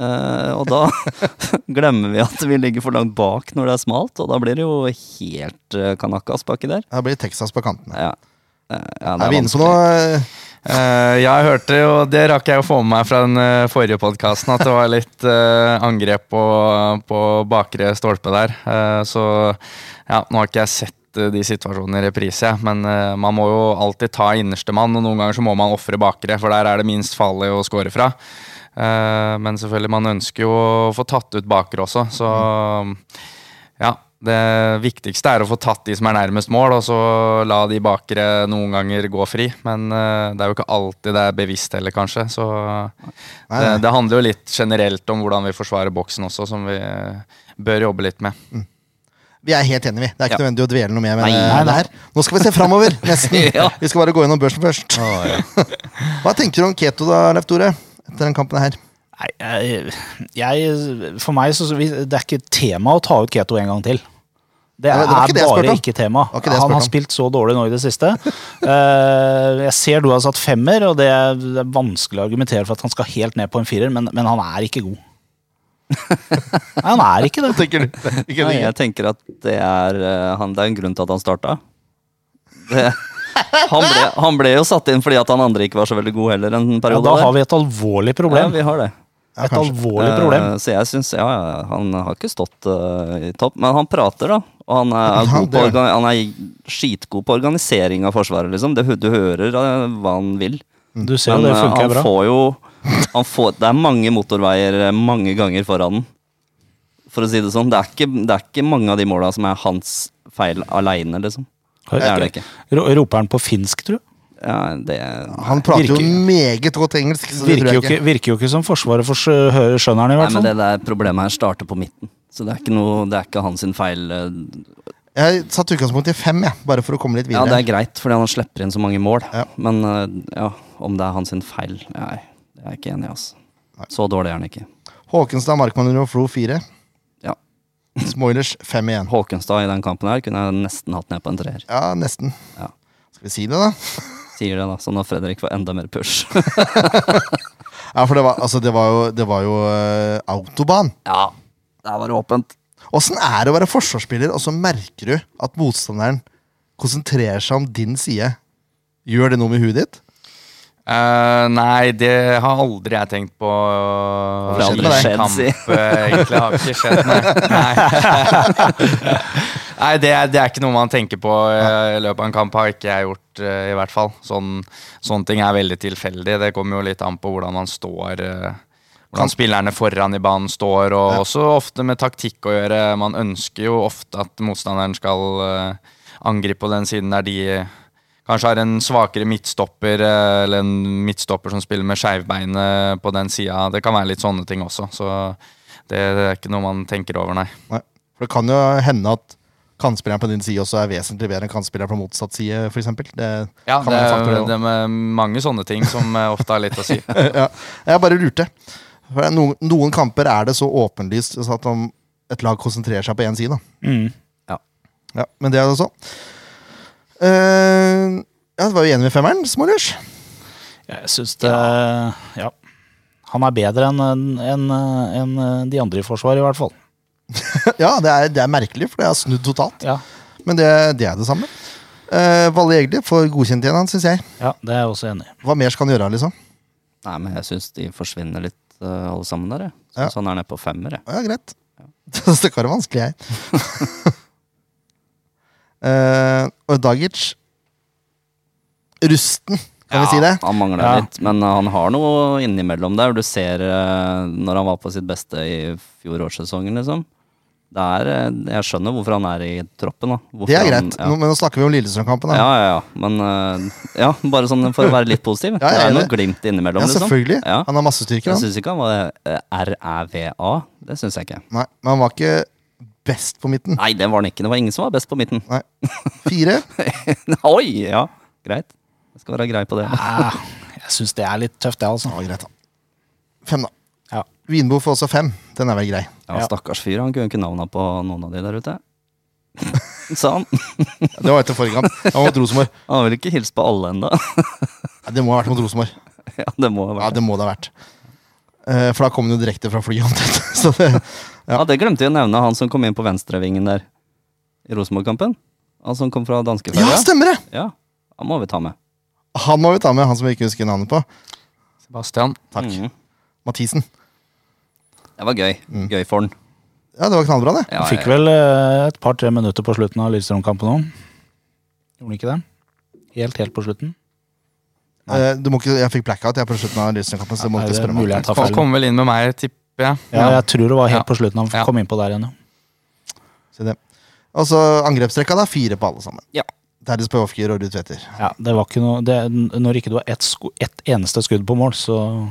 Speaker 4: Eh, og da [laughs] glemmer vi at vi ligger for langt bak når det er smalt, og da blir det jo helt uh, kanakkas baki der.
Speaker 2: Da blir det Texas på kantene.
Speaker 4: Ja. Eh, ja,
Speaker 2: Er
Speaker 4: det er
Speaker 2: vi inne på noe?
Speaker 3: Eh, jeg hørte jo, det rakk jeg å få med meg fra den eh, forrige podkasten, at det var litt eh, angrep på, på bakre stolpe der. Eh, så ja, nå har ikke jeg sett eh, de situasjonene i reprise, jeg, men eh, man må jo alltid ta innerstemann, og noen ganger så må man ofre bakre, for der er det minst farlig å score fra. Eh, men selvfølgelig, man ønsker jo å få tatt ut bakre også, så ja. Det viktigste er å få tatt de som er nærmest mål, og så la de bakre noen ganger gå fri. Men eh, det er jo ikke alltid det er bevisst heller, kanskje. Så
Speaker 2: Nei,
Speaker 3: det,
Speaker 2: nei.
Speaker 3: det handler jo litt generelt om hvordan vi forsvarer boksen også, som vi eh, bør jobbe litt med.
Speaker 2: Vi er helt enige, vi. Det er ikke
Speaker 3: Ja.
Speaker 2: nødvendig å dvele noe mer med
Speaker 4: Nei,
Speaker 2: det-
Speaker 4: nei,
Speaker 2: det her. Nå skal vi se
Speaker 4: [laughs]
Speaker 2: framover, nesten.
Speaker 4: Ja.
Speaker 2: Vi skal bare gå gjennom børsen først. [laughs] Hva tenker du om Keto da, Leif Tore? Etter den kampen her.
Speaker 1: Nei, jeg, jeg, for meg så, så vi- det er ikke tema å ta ut Keto en gang til. Det er,
Speaker 2: Nei, det var ikke det jeg spurte
Speaker 1: bare
Speaker 2: om.
Speaker 1: ikke tema.
Speaker 2: var ikke det jeg
Speaker 1: Han har
Speaker 2: spurte om.
Speaker 1: spilt så dårlig nå i det siste. [laughs] Eh, jeg ser du har satt femmer, og det er, det er vanskelig å argumentere for at han skal helt ned på en firer, men, men han er ikke
Speaker 2: [laughs]
Speaker 1: god. Nei, han er ikke det.
Speaker 2: Tenker du?
Speaker 4: Nei, jeg tenker at det er, eh, han, det er en grunn til at han starta. Det, han, ble, han ble jo satt inn fordi at han andre ikke var så veldig god heller en
Speaker 1: Ja,
Speaker 4: periode.
Speaker 1: da har vi et alvorlig
Speaker 4: ja,
Speaker 1: problem.
Speaker 4: vi har det.
Speaker 1: Et alvorlig problem.
Speaker 4: Eh, Så jeg syns Ja, ja, han har ikke stått eh, i topp, men han prater, da. Og han er,
Speaker 2: Ja,
Speaker 4: god
Speaker 2: det
Speaker 4: på,
Speaker 2: er-
Speaker 4: orga- han er skitgod på organisering av Forsvaret, liksom. Det, hø- du hører eh, hva han vil.
Speaker 1: Du ser jo det
Speaker 4: eh,
Speaker 1: funker
Speaker 4: han
Speaker 1: bra.
Speaker 4: får jo han får, Det er mange motorveier eh, mange ganger foran den. For å si det sånn. Det er ikke, det er ikke mange av de måla som er hans feil aleine, liksom.
Speaker 1: Hør,
Speaker 4: Det er det ikke.
Speaker 1: ro- Roper han på finsk, tru?
Speaker 4: Ja, det
Speaker 2: Han prater jo
Speaker 1: Virker-
Speaker 2: meget godt engelsk, så det tror
Speaker 1: Virker jo
Speaker 2: jeg
Speaker 1: ikke,
Speaker 2: ikke.
Speaker 1: virker jo ikke som Forsvaret for skjø- hø- skjønner han, i
Speaker 4: Nei,
Speaker 1: hvert
Speaker 4: men
Speaker 1: fall.
Speaker 4: det der problemet her starter på midten. Så det er ikke, noe, det er ikke hans sin feil. eh,
Speaker 2: Jeg satte utgangspunkt i fem, jeg, bare for å komme litt
Speaker 4: Ja,
Speaker 2: videre.
Speaker 4: det er greit, fordi han slipper inn så mange mål.
Speaker 2: Ja.
Speaker 4: Men eh, ja, om det er hans sin feil Nei, det er jeg ikke enig i, altså. Så dårlig er han ikke.
Speaker 2: Håkenstad, Markmann og Flo
Speaker 4: [laughs]
Speaker 2: fire.
Speaker 4: Ja.
Speaker 2: Smoilers fem igjen.
Speaker 4: Håkenstad i den kampen her kunne jeg nesten hatt ned på en treer.
Speaker 2: Ja, nesten.
Speaker 4: Ja.
Speaker 2: Skal vi si det, da?
Speaker 4: Sier det, da. Så når Fredrik får enda mer push. [laughs]
Speaker 2: Ja, for det var, altså, det var jo, det var jo eh, autobahn.
Speaker 4: ja, der var det åpent.
Speaker 2: Åssen er det å være forsvarsspiller, og så merker du at motstanderen konsentrerer seg om din side? Gjør det noe med huet ditt?
Speaker 3: Eh, nei, det har aldri jeg tenkt på.
Speaker 4: Det har aldri
Speaker 3: i
Speaker 4: skjedd,
Speaker 3: kamp,
Speaker 4: si.
Speaker 3: eh, egentlig har det ikke skjedd, nei. Nei, [laughs] nei det, er, det er ikke noe man tenker på eh, i løpet av en kamp, har ikke jeg gjort, eh, i hvert fall. Sånn, sånne ting er veldig tilfeldig. Det kommer jo litt an på hvordan man står. eh, hvordan spillerne foran i banen står, og også ofte med taktikk å gjøre. Man ønsker jo ofte at motstanderen skal eh, angripe på den siden der de kanskje har en svakere midtstopper, eh, eller en midtstopper som spiller med skeivbeinet på den sida. Det kan være litt sånne ting også, så det, det er ikke noe man tenker over, nei.
Speaker 2: Nei. For det kan jo hende at kantspilleren på din side også er vesentlig bedre enn kantspilleren på motsatt side, f.eks. Det
Speaker 3: Ja,
Speaker 2: kan være
Speaker 3: det,
Speaker 2: en faktor,
Speaker 3: er-
Speaker 2: det også.
Speaker 3: det er mange sånne ting som eh, ofte har litt å [laughs] si.
Speaker 2: ja. Jeg bare lurte. For det er noen, noen kamper er det så åpenlyst så at om et lag konsentrerer seg på én side. Da.
Speaker 1: Mm.
Speaker 2: Ja, men det er det også. Eh, ja, det var jo enig med femmeren, Smålers.
Speaker 1: Jeg syns det Ja. Han er bedre enn enn- enn, eh, de andre i Forsvaret, i hvert fall.
Speaker 2: ja, det er, det er merkelig, for det har snudd totalt.
Speaker 1: Ja.
Speaker 2: Men det, det er det samme. Uh, Valle Egli får godkjent igjen, han, syns jeg.
Speaker 1: det er jeg også enig i.
Speaker 2: Hva mer skal han gjøre, liksom?
Speaker 4: Nei, men jeg syns de forsvinner litt, eh, alle sammen der, jeg.
Speaker 2: Ja.
Speaker 4: Syns han er nede på femmer, jeg.
Speaker 2: Ja, greit. [laughs] det kan være vanskelig, jeg. [laughs] Eh, og Dagic Rusten, kan vi si det?
Speaker 4: Han mangler
Speaker 1: Ja.
Speaker 4: litt, men eh, han har noe innimellom der. Du ser eh, når han var på sitt beste i fjorårssesongen, liksom. Det er, eh, jeg skjønner hvorfor han er i troppen. da. Hvorfor
Speaker 2: Det er
Speaker 4: han-
Speaker 2: greit.
Speaker 4: ja.
Speaker 2: Nå, men nå snakker vi om Lillestrøm-kampen. da.
Speaker 4: Ja, ja, ja. Men eh, ja, bare sånn for å være litt
Speaker 2: [laughs] Ja, jeg
Speaker 4: positiv. det
Speaker 2: er
Speaker 4: er
Speaker 2: det.
Speaker 4: noe glimt innimellom.
Speaker 2: Ja,
Speaker 4: liksom.
Speaker 2: selvfølgelig.
Speaker 4: Ja.
Speaker 2: Han har masse styrker,
Speaker 4: Jeg
Speaker 2: han.
Speaker 4: syns ikke han var eh, RÆVA. Det syns jeg ikke.
Speaker 2: Nei, men han var ikke best på midten.
Speaker 4: Nei, det var han ikke. Det var ingen som var best på midten. [laughs]
Speaker 2: Nei. Fire.
Speaker 4: Oi! Ja, greit. Jeg skal være grei på det.
Speaker 1: Ah, jeg syns det er litt tøft, det, altså.
Speaker 2: Ja, greit, da. Fem, da.
Speaker 1: Ja.
Speaker 2: Vinbo får også fem. Den er vel grei.
Speaker 4: Ja, Stakkars fyr. Han kunne ikke navna på noen av de der ute. [laughs] Sa han.
Speaker 2: Det var etter forrige kamp. Det var mot Rosenborg.
Speaker 4: Han har vel ikke hilst på alle ennå.
Speaker 2: Ja, Det må ha vært mot Rosenborg.
Speaker 4: [laughs] ja, det må ha
Speaker 2: Ja,
Speaker 4: vært det.
Speaker 2: det må det ha vært. Eh, For da kom den jo direkte fra flyet, omtrent. [laughs] Så det,
Speaker 4: Ja, det glemte jeg å nevne, han som kom inn på venstrevingen der i Rosenborg-kampen. Han som kom
Speaker 2: ja,
Speaker 4: fra danskeferja.
Speaker 2: stemmer det!
Speaker 4: Ja. Han må vi ta med.
Speaker 2: Han må vi ta med, han som vi ikke husker navnet på.
Speaker 3: Sebastian.
Speaker 2: Takk.
Speaker 4: Mhm.
Speaker 2: Mathisen.
Speaker 4: Det var gøy.
Speaker 2: Mm.
Speaker 4: Gøy for han.
Speaker 2: Ja, det var knallbra, det.
Speaker 4: Ja,
Speaker 1: Han fikk
Speaker 4: ja,
Speaker 1: vel eh, et par-tre minutter på slutten av Lillestrøm-kampen òg. Gjorde han ikke det? Helt, helt på slutten.
Speaker 2: Eh, Du må ikke, jeg fikk blackout jeg på slutten av Lillestrøm-kampen. så du må
Speaker 1: Er
Speaker 2: ikke
Speaker 1: det
Speaker 2: spørre
Speaker 1: mulig
Speaker 2: meg.
Speaker 1: jeg tar
Speaker 3: Kom,
Speaker 1: feil?
Speaker 3: kom vel inn med meg, tipper jeg.
Speaker 1: Ja, jeg tror det var helt
Speaker 3: Ja.
Speaker 1: på slutten han
Speaker 3: Ja.
Speaker 1: kom inn på der igjen, jo.
Speaker 2: Så det. Og så angrepstrekka, da. Fire på alle sammen.
Speaker 4: Ja.
Speaker 2: Terjes på Ofker og Ruud Tveter.
Speaker 1: Ja, det var ikke noe, det, når ikke du har ett sko, ett eneste skudd på mål, så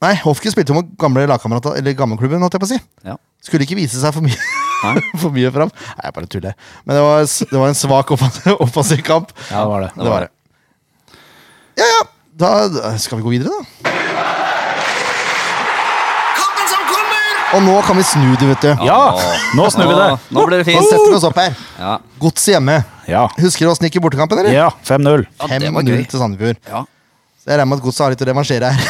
Speaker 2: Nei, Hofker spilte jo mot gamle lagkamerat, eller gamleklubben, holdt jeg på å si.
Speaker 4: Ja.
Speaker 2: Skulle ikke vise seg for mye,
Speaker 4: Nei.
Speaker 2: [laughs] for mye fram. Nei, jeg bare tuller. Men det var, det var en svak offensiv, [laughs] offensiv kamp.
Speaker 1: ja, det var det.
Speaker 2: Det var det. Ja, ja. Da, da skal vi gå videre, da.
Speaker 5: Kampen som kommer!
Speaker 2: Og nå kan vi snu det, vet du.
Speaker 1: Ja! Nå snur vi det!
Speaker 4: Å, Nå blir det
Speaker 2: Vi
Speaker 4: fint.
Speaker 2: setter oss opp her.
Speaker 4: Ja.
Speaker 2: Godset hjemme.
Speaker 1: Ja.
Speaker 2: Husker du åssen det gikk i bortekampen, eller?
Speaker 1: ja 5-0.
Speaker 4: ja, det var
Speaker 2: 5-0
Speaker 4: gøy.
Speaker 2: til Sandefjord.
Speaker 4: Ja.
Speaker 2: Så jeg regner med at godset har litt å revansjere her.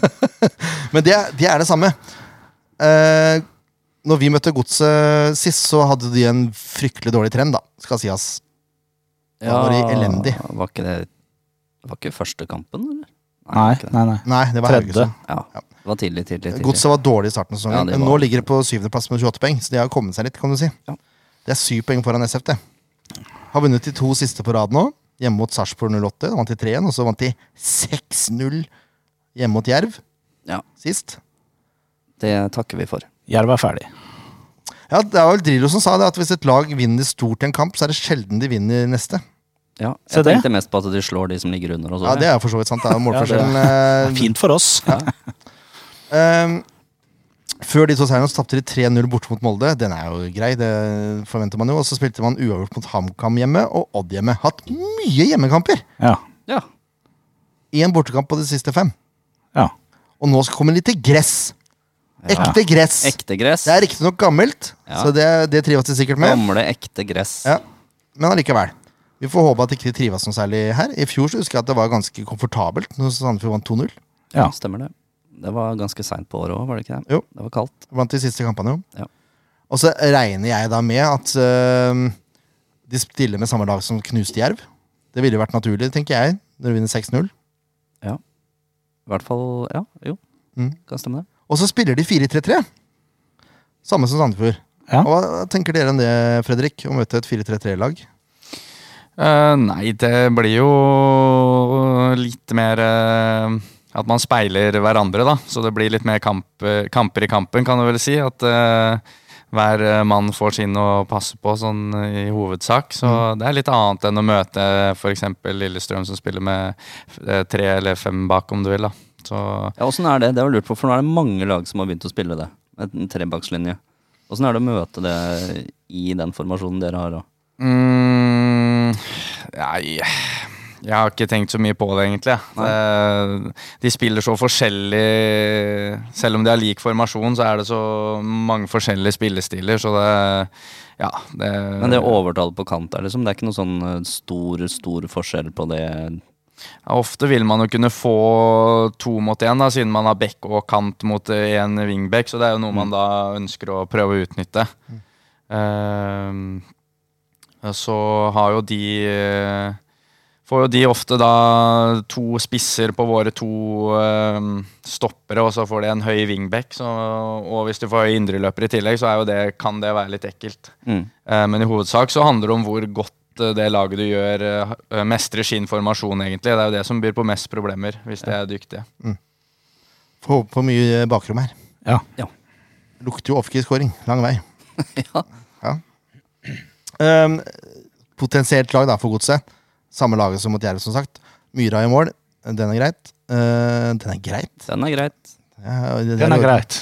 Speaker 2: [laughs] Men det, det er det samme. Eh, når vi møtte godset sist, så hadde de en fryktelig dårlig trend, da. Skal sies. Da var de elendig.
Speaker 4: Var ikke det Var ikke første kampen, eller?
Speaker 1: Nei,
Speaker 4: ikke det.
Speaker 1: nei, nei.
Speaker 2: Nei, det var
Speaker 1: Tredje.
Speaker 2: Haugesund.
Speaker 4: Ja. Det var tidlig, tidlig, tidlig.
Speaker 2: Godset var dårlig i starten av
Speaker 4: Ja,
Speaker 2: sesongen.
Speaker 4: de
Speaker 2: men
Speaker 4: var-
Speaker 2: nå ligger det på syvendeplass med 28 poeng, så de har jo kommet seg litt, kan du si.
Speaker 4: Ja.
Speaker 2: Det er syv poeng foran SF, det. Har vunnet de to siste på rad nå. Hjemme mot Sarpsborg 08, da vant de 3-1, og så vant de 6-0 hjemme mot Jerv
Speaker 4: Ja.
Speaker 2: sist.
Speaker 4: Det takker vi for.
Speaker 1: Jerv er ferdig.
Speaker 2: Ja, Det var vel Drillo som sa det, at hvis et lag vinner stort i en kamp, så er det sjelden de vinner neste.
Speaker 4: Ja,
Speaker 1: Se
Speaker 4: jeg
Speaker 1: det.
Speaker 4: tenkte mest på at de slår de som ligger under sånn. oss.
Speaker 2: Ja, Det er jo for så vidt sant. Det er jo målforskjellen.
Speaker 1: Det er fint for oss.
Speaker 2: eh, ehm, før de to seirene så tapte de 3-0 borte mot Molde. Den er jo grei, det forventer man jo. Og så spilte man uavgjort mot HamKam hjemme og Odd hjemme. Hatt mye hjemmekamper!
Speaker 1: Ja.
Speaker 4: Ja.
Speaker 2: Én bortekamp på de siste fem.
Speaker 1: ja.
Speaker 2: Og nå skal komme litt til gress. Ekte gress.
Speaker 4: Ekte gress.
Speaker 2: Det er riktignok gammelt,
Speaker 4: Ja.
Speaker 2: så det, det trives de sikkert med.
Speaker 4: Gamle, ekte gress.
Speaker 2: Ja, Men allikevel. Vi får håpe at ikke de trives noe særlig her. I fjor så husker jeg at det var ganske komfortabelt når Sandefjord vant 2-0.
Speaker 1: ja.
Speaker 4: Stemmer det. Det var ganske seint på året òg, var det ikke det?
Speaker 2: Jo.
Speaker 4: Det var kaldt.
Speaker 2: Blant de siste kampene, jo.
Speaker 4: Ja.
Speaker 2: Og så regner jeg da med at øhm, de stiller med samme lag som knuste Jerv. Det ville jo vært naturlig, tenker jeg, når du vinner 6-0.
Speaker 4: I hvert fall Ja, jo.
Speaker 2: Mm.
Speaker 4: Kan stemme det.
Speaker 2: Og så spiller de 4-3-3. Samme som Sandefjord.
Speaker 1: Ja.
Speaker 2: Og Hva tenker dere om det, Fredrik? Å møte et 4-3-3-lag?
Speaker 3: Eh, nei, det blir jo litt mer eh, at man speiler hverandre, da. Så det blir litt mer kamp, eh, kamper i kampen, kan du vel si. At eh, hver eh, mann får sin å passe på, sånn i hovedsak. Så det er litt annet enn å møte f.eks. Lillestrøm, som spiller med eh, tre eller fem bak, om du vil. da. Så
Speaker 4: Ja, Åssen er det? Det var lurt på, for nå er det mange lag som har begynt å spille det. Med en trebakslinje. Åssen er det å møte det i den formasjonen dere har? da?
Speaker 3: Mm, nei Jeg har ikke tenkt så mye på det, egentlig. Eh, De spiller så forskjellig Selv om de har lik formasjon, så er det så mange forskjellige spillestiler, så det Ja, det
Speaker 4: Men det overtallet på kant er liksom, det er ikke noe sånn eh, stor, stor forskjell på det
Speaker 3: Ja, Ofte vil man jo kunne få to mot én, da, siden man har bekk og kant mot én wingback. Så det er jo noe man da ønsker å prøve å utnytte. Eh, så har jo de eh, Får jo de ofte da to spisser på våre to eh, stoppere, og så får de en høy wingback. Så, og hvis du får høy indreløper i tillegg, så er jo det, kan det være litt ekkelt.
Speaker 4: mm.
Speaker 3: Eh, Men i hovedsak så handler det om hvor godt eh, det laget du gjør, eh, ha- mestrer sin formasjon, egentlig. Det er jo det som byr på mest problemer, hvis de er dyktige.
Speaker 2: Får håpe på mye bakrom her.
Speaker 1: ja.
Speaker 2: Lukter jo offkey-skåring. Lang vei.
Speaker 4: [laughs] Ja.
Speaker 2: Ehm, potensielt lag da for godset. Samme laget som mot Jerv, som sagt. Myra i mål. Den er greit. Eh, den er greit?
Speaker 4: Den er greit.
Speaker 2: Ja, det- det
Speaker 1: Den er
Speaker 2: lov-
Speaker 1: greit.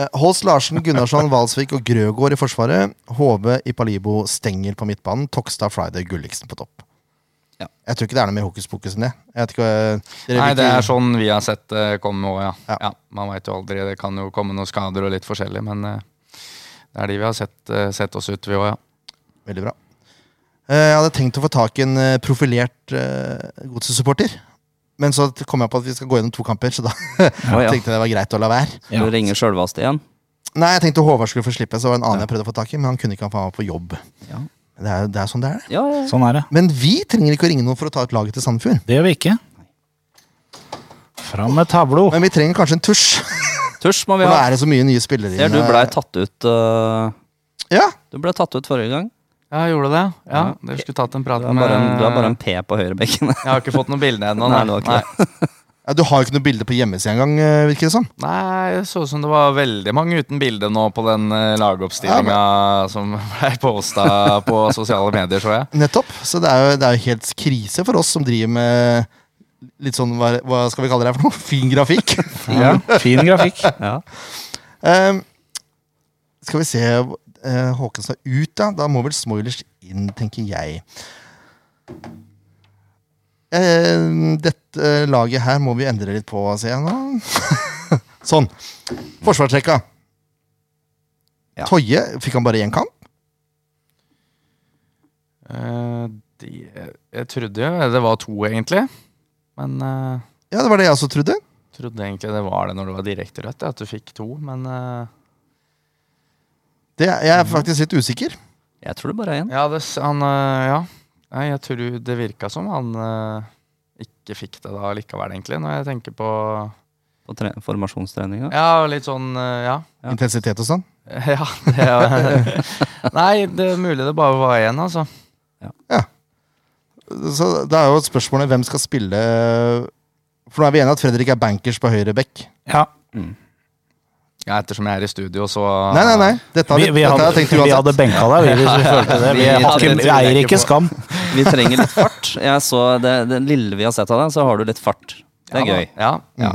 Speaker 2: Eh, Holst Larsen, Gunnarsson, Valsvik og Grøgaard i forsvaret. HV i Palibo stenger på midtbanen. Tokstad, Friday, Gulliksen på topp.
Speaker 4: Ja.
Speaker 2: Jeg tror ikke det er noe mer hokus pokus enn det. Jeg vet ikke, eh, dere
Speaker 3: Nei,
Speaker 2: vil
Speaker 3: det
Speaker 2: ikke-
Speaker 3: er sånn vi har sett det komme òg, ja.
Speaker 2: Ja.
Speaker 3: ja. Man veit jo aldri. Det kan jo komme noen skader og litt forskjellig, men eh, det er de vi har sett, eh, sett oss ut, vi òg, ja.
Speaker 2: Veldig bra. Eh, Jeg hadde tenkt å få tak i en eh, profilert eh, godsesupporter. Men så kom jeg på at vi skal gå gjennom to kamper, så da
Speaker 4: Å, ja.
Speaker 2: tenkte jeg det var greit å la være.
Speaker 4: Du
Speaker 1: Ja.
Speaker 4: ringer sjølvaste igjen?
Speaker 2: Nei, jeg tenkte Håvard skulle få slippe, så var det en annen jeg prøvde å få tak i, men han kunne ikke, han var på jobb.
Speaker 4: Ja.
Speaker 2: Det er, jo- det er sånn det er. det.
Speaker 4: Ja, ja.
Speaker 1: Sånn er det.
Speaker 2: Men vi trenger ikke å ringe noen for å ta ut laget til Sandefjord.
Speaker 1: Det gjør vi ikke. Fram med tavlo.
Speaker 2: Men vi trenger kanskje en tusj.
Speaker 4: Tusj må vi
Speaker 2: For nå
Speaker 4: ha.
Speaker 2: er det så mye nye spillere
Speaker 4: Ser du blei tatt ut eh,
Speaker 2: Ja,
Speaker 4: Du ble tatt ut forrige gang.
Speaker 3: Ja, gjorde det? Ja, Dere skulle tatt en prat
Speaker 4: Du er bare en, du er
Speaker 3: eh,
Speaker 4: bare en P på høyrebekken.
Speaker 3: Jeg har ikke fått noen bilder ennå.
Speaker 4: [laughs] Nei, det var
Speaker 3: nei.
Speaker 2: Ja, Du har jo ikke noe bilde på hjemmesida engang, eh, virker det som.
Speaker 3: Nei, det så ut som det var veldig mange uten bilde nå på den eh, lagoppstillinga som [laughs] ble posta på sosiale medier, så jeg.
Speaker 2: Nettopp. Så det er jo, det er jo helt krise for oss som driver med litt sånn, hva, hva skal vi kalle det her for noe? [laughs] Fin grafikk.
Speaker 1: Ja, fin grafikk.
Speaker 2: Ehm, skal vi se eh, Håkenstad ut, da. Da må vel Smoilers inn, tenker jeg. Ehm, dette eh, laget her må vi endre litt på, ser jeg nå. [laughs] sånn. Forsvarstrekka.
Speaker 4: Ja.
Speaker 2: Toje fikk han bare én kamp.
Speaker 3: Eh, de, jeg trodde jo det var to, egentlig. Men eh,
Speaker 2: Ja, det var det jeg også trodde.
Speaker 3: trodde egentlig det var det når det var direkte rødt, ja, at du fikk to. Men eh,
Speaker 2: Det, jeg
Speaker 1: Mhm.
Speaker 2: er faktisk litt usikker.
Speaker 4: Jeg tror det bare er én.
Speaker 3: ja, det, s- han eh, Ja. Nei, jeg tror det virka som han eh, ikke fikk det da likevel, egentlig, når jeg tenker på
Speaker 4: På tre- formasjonstreninga.
Speaker 3: Ja, litt sånn eh, Ja. [laughs]
Speaker 4: Ja.
Speaker 2: Intensitet og sånn.
Speaker 3: Ja, det er [laughs] Nei, det er mulig det bare var én, altså.
Speaker 2: Så det er jo spørsmålet hvem skal spille For nå er vi enige at Fredrik er bankers på høyre back.
Speaker 1: Ja.
Speaker 3: Ja, ettersom jeg er i studio, så
Speaker 2: Nei, nei, nei. Dette hadde,
Speaker 1: Ah. Vi, vi,
Speaker 2: dette
Speaker 1: hadde,
Speaker 2: hadde jeg tenkt
Speaker 1: vi
Speaker 2: uansett.
Speaker 1: hadde benka deg, vi, hvis vi følte det. Vi,
Speaker 4: Vi
Speaker 1: har ikke,
Speaker 4: hadde-
Speaker 1: vi eier ikke skam.
Speaker 4: Vi trenger litt fart. Jeg så det, det lille vi har sett av deg, så har du litt fart. Det er
Speaker 3: ja, da.
Speaker 4: gøy.
Speaker 3: Ja.
Speaker 4: Ja.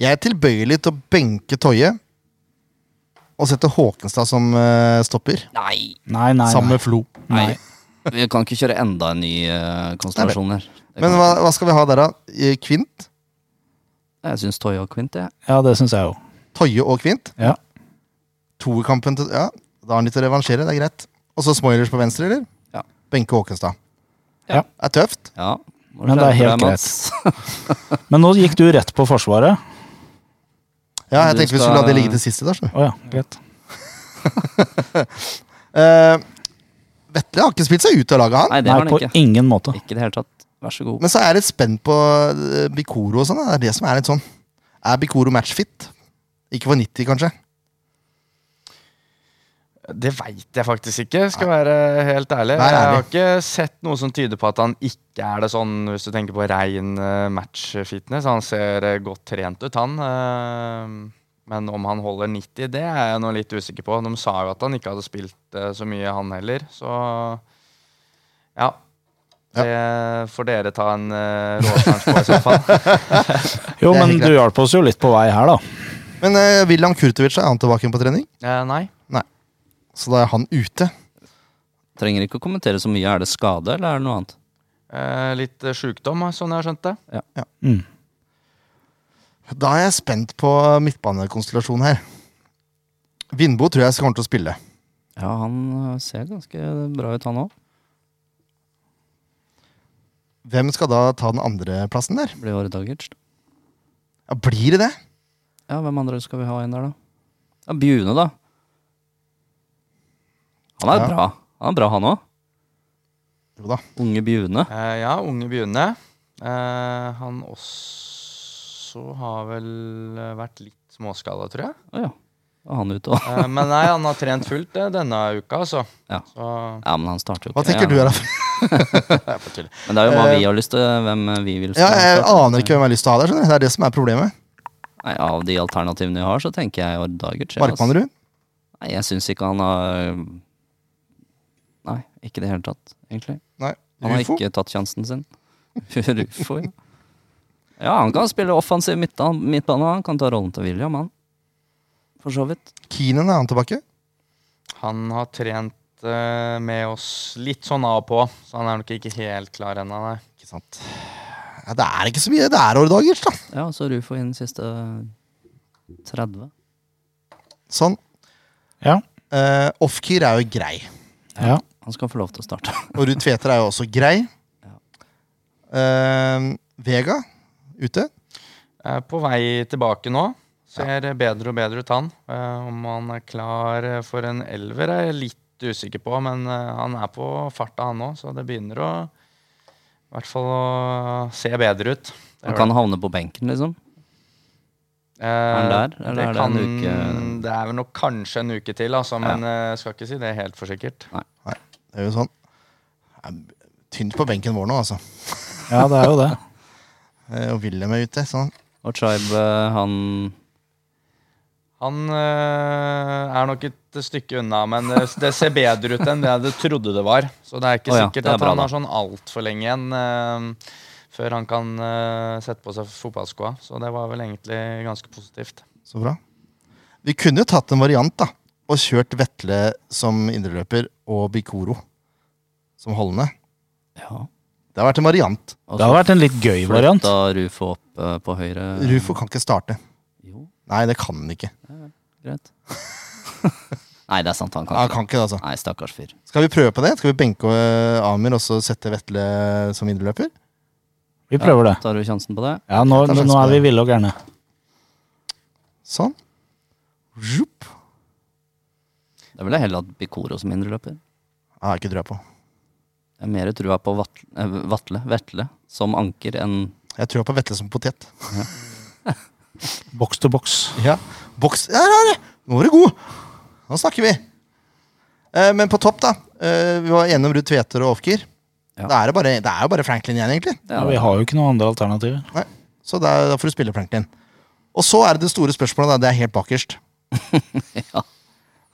Speaker 2: Jeg er tilbøyelig til å benke Toje og sette Håkenstad som eh, stopper.
Speaker 4: Nei,
Speaker 1: Nei, nei,
Speaker 2: Sammen
Speaker 1: nei.
Speaker 2: med Flo.
Speaker 4: nei. Vi kan ikke kjøre enda en ny uh, konstellasjon her. Det
Speaker 2: Men
Speaker 4: kan-
Speaker 2: hva, hva skal vi ha der, da? Eh, Kvint?
Speaker 4: Jeg syns Toyo og Quint, jeg.
Speaker 1: Ja, det syns jeg jo.
Speaker 2: Toje og Kvint?
Speaker 1: Ja.
Speaker 2: Toerkampen til Ja, da har han litt å revansjere. Det er greit. Og så Smoilers på venstre, eller?
Speaker 4: Ja.
Speaker 2: Benke Håkenstad.
Speaker 1: Ja.
Speaker 2: Det er tøft.
Speaker 4: Ja. må
Speaker 1: Men det er
Speaker 4: skjerpe
Speaker 1: helt
Speaker 4: deg, Mats. [laughs]
Speaker 1: Men nå gikk du rett på Forsvaret.
Speaker 2: Ja, jeg
Speaker 4: Du
Speaker 2: tenkte vi
Speaker 4: skal-
Speaker 2: skulle la det ligge til sist i dag. skjønner du.
Speaker 1: Å ja, greit.
Speaker 2: Eh, Vetle har ikke spilt seg ut av laget, han.
Speaker 4: Nei, det
Speaker 1: Nei,
Speaker 4: har han
Speaker 1: på
Speaker 4: ikke.
Speaker 1: ingen måte.
Speaker 4: Ikke i det hele tatt. Vær så god.
Speaker 2: Men så er jeg litt spent på eh, Bikoro og sånn. da. Det er det som er litt sånn. Er Bikoro matchfit? Ikke for 90, kanskje?
Speaker 3: Det veit jeg faktisk ikke, skal jeg være helt ærlig.
Speaker 2: Vær
Speaker 3: Jeg har
Speaker 2: ærlig.
Speaker 3: ikke sett noe som tyder på at han ikke er det sånn, hvis du tenker på rein eh, match-fitness. Han ser eh, godt trent ut, han. eh, Men om han holder 90, det er jeg nå litt usikker på. De sa jo at han ikke hadde spilt eh, så mye, han heller. Så ja.
Speaker 2: Ja.
Speaker 3: Det får dere ta en eh, råsjanse på, i så fall.
Speaker 1: Jo,
Speaker 2: Det er
Speaker 1: men
Speaker 2: helt
Speaker 1: du hjalp oss jo litt på vei her, da.
Speaker 2: Men uh, William Kurtovic er han tilbake igjen på trening,
Speaker 3: Eh, Nei.
Speaker 2: så da er han ute.
Speaker 4: Trenger ikke å kommentere så mye. Er det skade, eller er det noe annet?
Speaker 3: Eh, litt eh, sjukdom, sånn jeg har skjønt det.
Speaker 1: Mm.
Speaker 2: Da er jeg spent på midtbanekonstellasjonen her. Vindbo tror jeg kommer til å spille.
Speaker 4: Ja, han øh, ser ganske bra ut, han òg.
Speaker 2: Hvem skal da ta den andre plassen der?
Speaker 4: Blir året Dagertz.
Speaker 2: Ja, blir det det?
Speaker 4: Ja, hvem andre skal vi ha inn der, da? Ja, Bjune, da. Han er
Speaker 2: Ja.
Speaker 4: bra. Han er bra, han òg.
Speaker 2: Jo da.
Speaker 4: Unge Bjune.
Speaker 3: Eh, ja, Unge begynner. Eh, han også har vel eh, vært litt småskada, tror jeg.
Speaker 4: Å ja. Da er han ute òg.
Speaker 3: Eh, men nei, han har trent fullt eh, denne uka, altså.
Speaker 4: Ja.
Speaker 3: Så
Speaker 4: Ja, men han starter jo
Speaker 2: Hva
Speaker 4: ikke.
Speaker 2: tenker du,
Speaker 4: ja.
Speaker 2: Raf?
Speaker 4: Men det er jo hva vi har lyst til. Hvem øh, vi vil
Speaker 2: Ja, jeg
Speaker 4: starte.
Speaker 2: aner ikke hvem jeg har lyst til å ha der. skjønner du? Det er det som er problemet.
Speaker 4: Nei, Av de alternativene vi har, så tenker jeg Året Dagertz. ja, altså.
Speaker 2: Markmannrud?
Speaker 4: Nei, jeg syns ikke han har Nei, ikke i det hele tatt, egentlig.
Speaker 2: Nei.
Speaker 4: Han har
Speaker 2: Rufo?
Speaker 4: ikke tatt sjansen sin. [laughs] Rufo, ja. Ja, han kan spille offensiv midtbane, midtbane, han kan ta rollen til William, han. For så vidt.
Speaker 2: Keenan er han tilbake?
Speaker 3: han har trent eh, med oss litt sånn av og på, så han er nok ikke helt klar ennå, nei.
Speaker 2: Ikke sant. Ja, det er ikke så mye. Det er årdager, da.
Speaker 4: Ja, og så Rufo innen siste 30.
Speaker 2: Sånn.
Speaker 1: Ja.
Speaker 2: Eh, Off-keer er jo grei.
Speaker 1: ja.
Speaker 4: Han skal få lov til å starte.
Speaker 2: Og Ruud Tveter er jo også grei.
Speaker 4: Ja.
Speaker 2: Eh, Vega ute.
Speaker 3: Eh, på vei tilbake nå. Ser bedre og bedre ut, han. Eh, om han er klar eh, for en elver, er jeg litt litt usikker på, men eh, han er på farta, han òg, så det begynner å i hvert fall å se bedre ut. Det
Speaker 4: Han
Speaker 3: gjør
Speaker 4: kan
Speaker 3: det.
Speaker 4: havne på benken, liksom. han
Speaker 3: Eh,
Speaker 4: der, eller er det
Speaker 3: kan,
Speaker 4: en uke-
Speaker 3: Det er vel nok kanskje en uke til, altså, men eh, skal ikke si det helt for sikkert.
Speaker 2: Det er jo sånn. Det er Tynt på benken vår nå, altså.
Speaker 1: Ja, det er jo det.
Speaker 2: Eh, Og Wilhelm er ute. sånn.
Speaker 4: Og Tribe, eh, han
Speaker 3: Han eh, er nok et stykke unna, men det, det ser bedre ut enn det du trodde det var. Så det er ikke
Speaker 4: Å ja, det
Speaker 3: sikkert
Speaker 4: er
Speaker 3: at
Speaker 4: bra
Speaker 3: han
Speaker 4: da.
Speaker 3: har sånn altfor lenge igjen eh, før han kan eh, sette på seg fotballskoa. Så det var vel egentlig ganske positivt.
Speaker 2: Så bra. Vi kunne jo tatt en variant da, og kjørt Vetle som indreløper og Bikoro som holdende.
Speaker 4: Ja.
Speaker 2: Det har vært en variant.
Speaker 1: Det hadde vært en litt gøy variant.
Speaker 4: Da Rufo opp eh, på høyre.
Speaker 2: Rufo kan ikke starte.
Speaker 4: Jo,
Speaker 2: Nei, det kan han ikke.
Speaker 4: greit. [laughs] Nei, det er sant, han kan
Speaker 2: Ja,
Speaker 4: ikke.
Speaker 2: han kan ikke det, altså.
Speaker 4: Nei, stakkars fyr.
Speaker 2: Skal vi prøve på det? Skal vi benke eh, Amir og så sette Vetle som indreløper?
Speaker 1: Vi prøver det.
Speaker 4: Tar du sjansen på det?
Speaker 1: Ja, nå,
Speaker 2: Ta sjansen
Speaker 1: nå
Speaker 2: på
Speaker 1: er vi
Speaker 2: det.
Speaker 1: ville og gærne.
Speaker 2: Sånn. Zhup.
Speaker 4: Da ville jeg heller hatt Bikoro som indreløper.
Speaker 2: Jeg har ikke trua på.
Speaker 4: Jeg har mer trua på Vatle, eh, Vatle Vetle som anker enn
Speaker 2: Jeg tror på Vetle som potet.
Speaker 1: Boks til boks.
Speaker 2: Ja. Boks Der er det! Nå var du god! Nå snakker vi. Eh, men på topp, da. Eh, vi var enige om Ruud Tveter og Ofker.
Speaker 4: Ja.
Speaker 2: Det er jo bare, det er jo bare Franklin igjen, egentlig.
Speaker 1: Ja, vi har jo ikke noen andre alternativer.
Speaker 2: Nei. Så da, da får du spille Franklin. Og så er det det store spørsmålet, da. Det er helt bakerst.
Speaker 4: [laughs] Ja.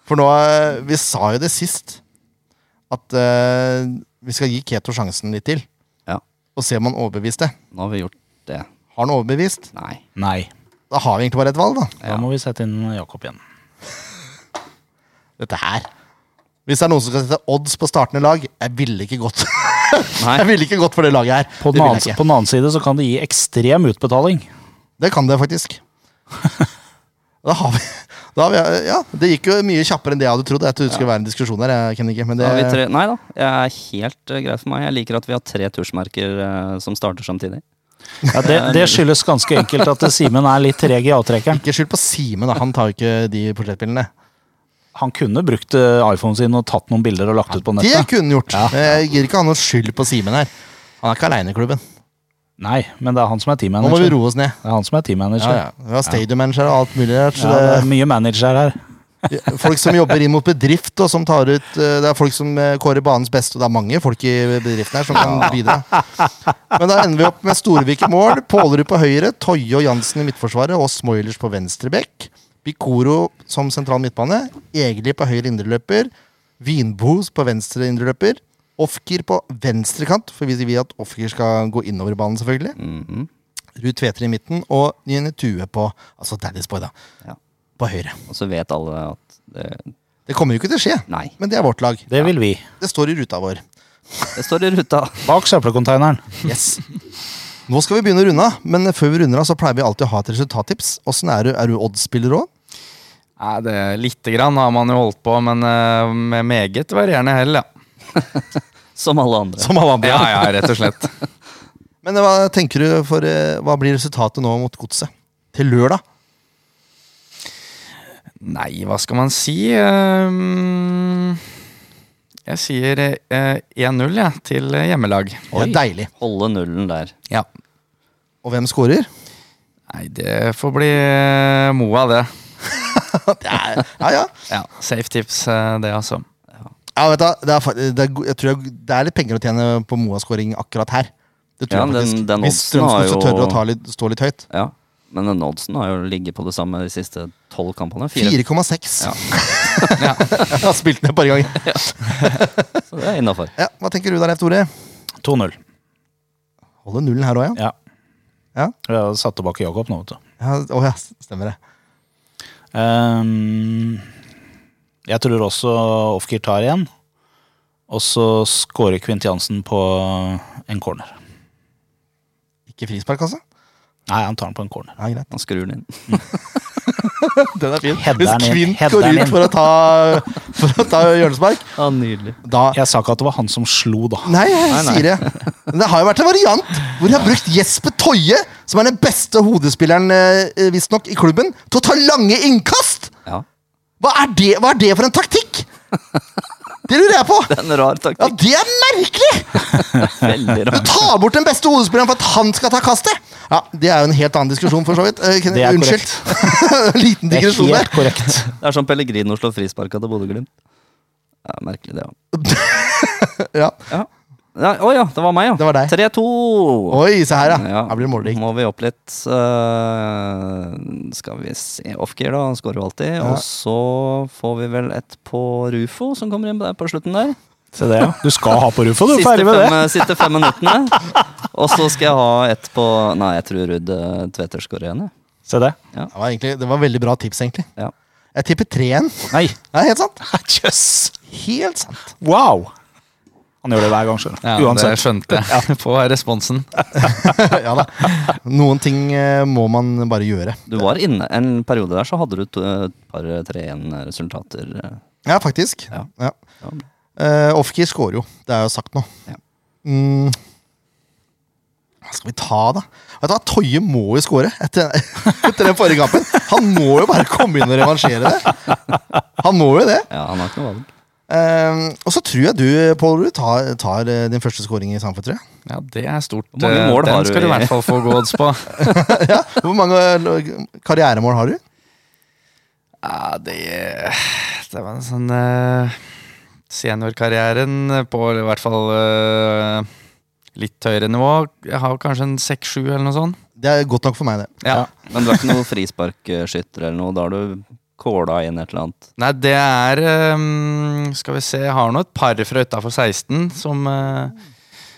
Speaker 2: For nå eh, Vi sa jo det sist, at eh, vi skal gi Keto sjansen litt til.
Speaker 4: Ja.
Speaker 2: Og se om han overbeviste.
Speaker 4: Nå har vi gjort det.
Speaker 2: Har han overbevist?
Speaker 4: Nei.
Speaker 1: Nei.
Speaker 2: Da har vi egentlig bare et valg, da.
Speaker 1: Da må vi sette inn Jakob igjen.
Speaker 2: Dette her. Hvis det er noen som skal sette odds på startende lag, jeg ville ikke gått [laughs]
Speaker 4: Nei.
Speaker 2: Jeg ville ikke gått for det laget her.
Speaker 1: På den,
Speaker 2: det, ville
Speaker 1: annen,
Speaker 2: jeg
Speaker 1: på
Speaker 2: ikke.
Speaker 1: den annen side så kan det gi ekstrem utbetaling.
Speaker 2: det kan det faktisk. Da har vi, da har vi Ja, det gikk jo mye kjappere enn det jeg hadde trodd. Jeg trodde det skulle være en diskusjon her, jeg kjenner ikke, men
Speaker 4: Da
Speaker 2: det
Speaker 4: har vi tre. Nei da, det er helt eh, greit for meg. Jeg liker at vi har tre tusjmerker eh, som starter samtidig.
Speaker 1: Ja, det,
Speaker 2: [laughs]
Speaker 1: det skyldes ganske enkelt at Simen er litt treg i avtrekkeren.
Speaker 2: Ikke skyld på Simen, da. Han tar jo ikke de portrettpillene.
Speaker 1: Han kunne brukt eh, iPhonen sin og tatt noen bilder og lagt ut på
Speaker 2: Det
Speaker 1: nettet.
Speaker 2: kunne han gjort. Men Jeg gir ikke ha noe skyld på Simen her. Han er ikke aleine i klubben.
Speaker 1: Nei, men det er han som er
Speaker 2: Nå må vi
Speaker 1: teammanager.
Speaker 2: roe oss ned.
Speaker 1: Det er han som er
Speaker 2: Ja,
Speaker 1: teammanager.
Speaker 2: ja. Vi har stadiummanager og alt mulig rart. Så
Speaker 1: Ja, det er
Speaker 2: det,
Speaker 1: mye manager her.
Speaker 2: folk som jobber inn mot bedrift, og som tar ut eh, Det er folk som eh, kårer banens beste, og det er mange folk i bedriften her som kan bidra. Men da ender vi opp med Storvik i mål, Pålerud på høyre, Toje og Jansen i midtforsvaret og Smoilers på venstre bekk. Bikoro som sentral midtbane, Egeli på høyre indreløper, Vinbohs på venstre indreløper, Ofker på venstre kant, for vi vil at Ofker skal gå innover i banen, selvfølgelig.
Speaker 4: Mhm.
Speaker 2: Ruud Tveter i midten og Nine Tue på altså Daddy's Boy da,
Speaker 4: Ja.
Speaker 2: på høyre.
Speaker 4: Og så vet alle at det,
Speaker 2: Det kommer jo ikke til å skje,
Speaker 4: Nei.
Speaker 2: men det er vårt lag.
Speaker 1: Det vil vi.
Speaker 2: Det står i ruta vår.
Speaker 4: Det står i ruta.
Speaker 1: Bak søppelkonteineren.
Speaker 2: Yes. [laughs] Nå skal vi begynne å runde av, men før vi runder av, så pleier vi alltid å ha et resultattips. Åssen er du? Er du oddsspiller òg?
Speaker 3: Nei, det Lite grann har man jo holdt på, men eh, med meget varierende [laughs] hell, ja.
Speaker 4: Som alle andre.
Speaker 2: Som alle
Speaker 3: Ja, ja, rett og slett.
Speaker 2: Men hva tenker du for eh, Hva blir resultatet nå mot Godset? Til lørdag?
Speaker 3: Nei, hva skal man si? Ehm, Jeg sier eh, 1-0 ja, til eh, hjemmelag.
Speaker 2: Det
Speaker 4: Oi.
Speaker 2: er deilig.
Speaker 4: Holde nullen der.
Speaker 3: Ja.
Speaker 2: Og hvem scorer?
Speaker 3: Nei, det får bli eh, Moa,
Speaker 4: [laughs]
Speaker 3: det.
Speaker 2: Ja, ja.
Speaker 3: Ja, Safe tips, eh, det, altså.
Speaker 2: ja vet du, det, er, fa- det, er, go- jeg tror jeg, det er litt penger å tjene på Moa-scoring akkurat her. Det tror
Speaker 4: Ja,
Speaker 2: jeg
Speaker 4: den-
Speaker 2: faktisk.
Speaker 4: den
Speaker 2: Hvis
Speaker 4: oddsen har
Speaker 2: Strømsgodset
Speaker 4: jo-
Speaker 2: tør å ta litt, stå litt høyt.
Speaker 4: Ja. Men den oddsen har jo ligget på det samme de siste tolv kampene. Fire.
Speaker 2: 4,6.
Speaker 4: Ja.
Speaker 2: [laughs] jeg har spilt den et par ganger.
Speaker 4: Så det er innafor.
Speaker 2: Ja, hva tenker du da, Leif Tore?
Speaker 1: 2-0.
Speaker 2: Holder nullen her òg, ja?
Speaker 1: Ja.
Speaker 2: Ja.
Speaker 1: Jeg har satt tilbake Jakob nå, vet du.
Speaker 2: ja? Å ja, stemmer det.
Speaker 1: Ehm, jeg tror også Ofkir tar igjen. Og så scorer Kvintjansen på en corner.
Speaker 2: Ikke frispark, altså?
Speaker 1: Nei, han tar den på en corner.
Speaker 2: Ja, greit.
Speaker 4: Han skrur den inn.
Speaker 2: Den er fin.
Speaker 1: Header
Speaker 2: Hvis
Speaker 1: den inn.
Speaker 2: Kvint
Speaker 1: Header
Speaker 2: går
Speaker 1: den
Speaker 2: ut
Speaker 1: inn.
Speaker 2: for å ta, for å ta hjørnespark,
Speaker 4: Ja, nydelig.
Speaker 2: da
Speaker 1: Jeg sa ikke at det var han som slo, da.
Speaker 2: Nei, jeg sier det. Men det har jo vært en variant hvor de har brukt Jesper Toje, som er den beste hodespilleren eh, visstnok i klubben, til å ta lange innkast!
Speaker 4: Ja.
Speaker 2: Hva er det, hva er det for en taktikk?! Det lurer jeg på!
Speaker 4: Det er en rar
Speaker 2: Ja,
Speaker 4: taktikk.
Speaker 2: det er merkelig!
Speaker 4: Veldig
Speaker 2: Du
Speaker 4: rar.
Speaker 2: tar bort den beste hodespilleren for at han skal ta kastet! Ja, Det er jo en helt annen diskusjon, for så vidt. Eh, Kenneth,
Speaker 1: Det er
Speaker 2: Unnskyld. [laughs] Liten
Speaker 1: Det er
Speaker 2: digresjon der.
Speaker 1: helt korrekt.
Speaker 4: Det er som Pellegrino slår frisparka til Bodø-Glimt. Ja, merkelig, det òg.
Speaker 2: Ja.
Speaker 4: Ja. Ja, Å ja, det var meg, ja.
Speaker 2: Det var deg.
Speaker 4: 3-2.
Speaker 2: Oi, se her, ja.
Speaker 4: Ja.
Speaker 2: Her blir det måling.
Speaker 4: Må vi opp litt. eh, skal vi se Offgear, da. Han skårer jo alltid. Og så får vi vel et på Rufo, som kommer inn der på slutten der.
Speaker 1: [laughs] Se det, ja. Du skal ha på Rufo, du.
Speaker 4: Siste
Speaker 1: Ferdig med det.
Speaker 4: fem, eh, siste fem minuttene. Og så skal jeg ha et på Nei, jeg tror Ruud eh, Tveter skårer igjen. jeg.
Speaker 1: Se det.
Speaker 2: Det var, egentlig, det var veldig bra tips, egentlig.
Speaker 4: Ja.
Speaker 2: Jeg tipper 3-1.
Speaker 1: Nei,
Speaker 2: Det er helt sant.
Speaker 1: [laughs] jøss.
Speaker 2: Helt sant. [laughs]
Speaker 1: Wow! Han gjør det hver gang, skjønner du.
Speaker 3: Ja, Det
Speaker 1: Uansett.
Speaker 3: skjønte
Speaker 4: [laughs]
Speaker 3: jeg på responsen.
Speaker 2: ja da. Noen ting eh, må man bare gjøre.
Speaker 4: Du var inne en periode der, så hadde du to- et par eh, 3-1-resultater.
Speaker 2: Ja, faktisk.
Speaker 4: Ja.
Speaker 2: Ja.
Speaker 4: Ja.
Speaker 2: Eh, Ofkir scorer jo. Det er jo sagt nå.
Speaker 4: Ja.
Speaker 2: Mm. Hva skal vi ta, da? Vet du hva, Toye må jo score etter, [laughs] etter den forrige kampen. Han må jo bare komme inn og revansjere det. Han må jo det.
Speaker 4: Ja, han har ikke noe valg.
Speaker 2: Eh, og så tror jeg du, Pål Ruud, tar, tar eh, din første scoring i Sandefjord, tror jeg.
Speaker 3: Ja, det er stort.
Speaker 4: Hvor mange
Speaker 3: eh,
Speaker 4: mål har
Speaker 3: Den
Speaker 4: du
Speaker 3: skal du i
Speaker 4: i-
Speaker 3: hvert fall få odds på.
Speaker 4: [laughs]
Speaker 2: Ja. Hvor mange eh, karrieremål har du?
Speaker 3: Ja, det, det var en sånn eh, Seniorkarrieren på i hvert fall eh, litt høyere nivå. Jeg har kanskje en seks-sju eller noe sånt.
Speaker 2: Det er godt nok for meg, det.
Speaker 3: Ja.
Speaker 4: Men du er ikke noen frisparkskytter eller noe? Da har du kåla inn et eller annet?
Speaker 3: Nei, det er eh, Skal vi se, jeg har nå et par fra utafor 16 som eh,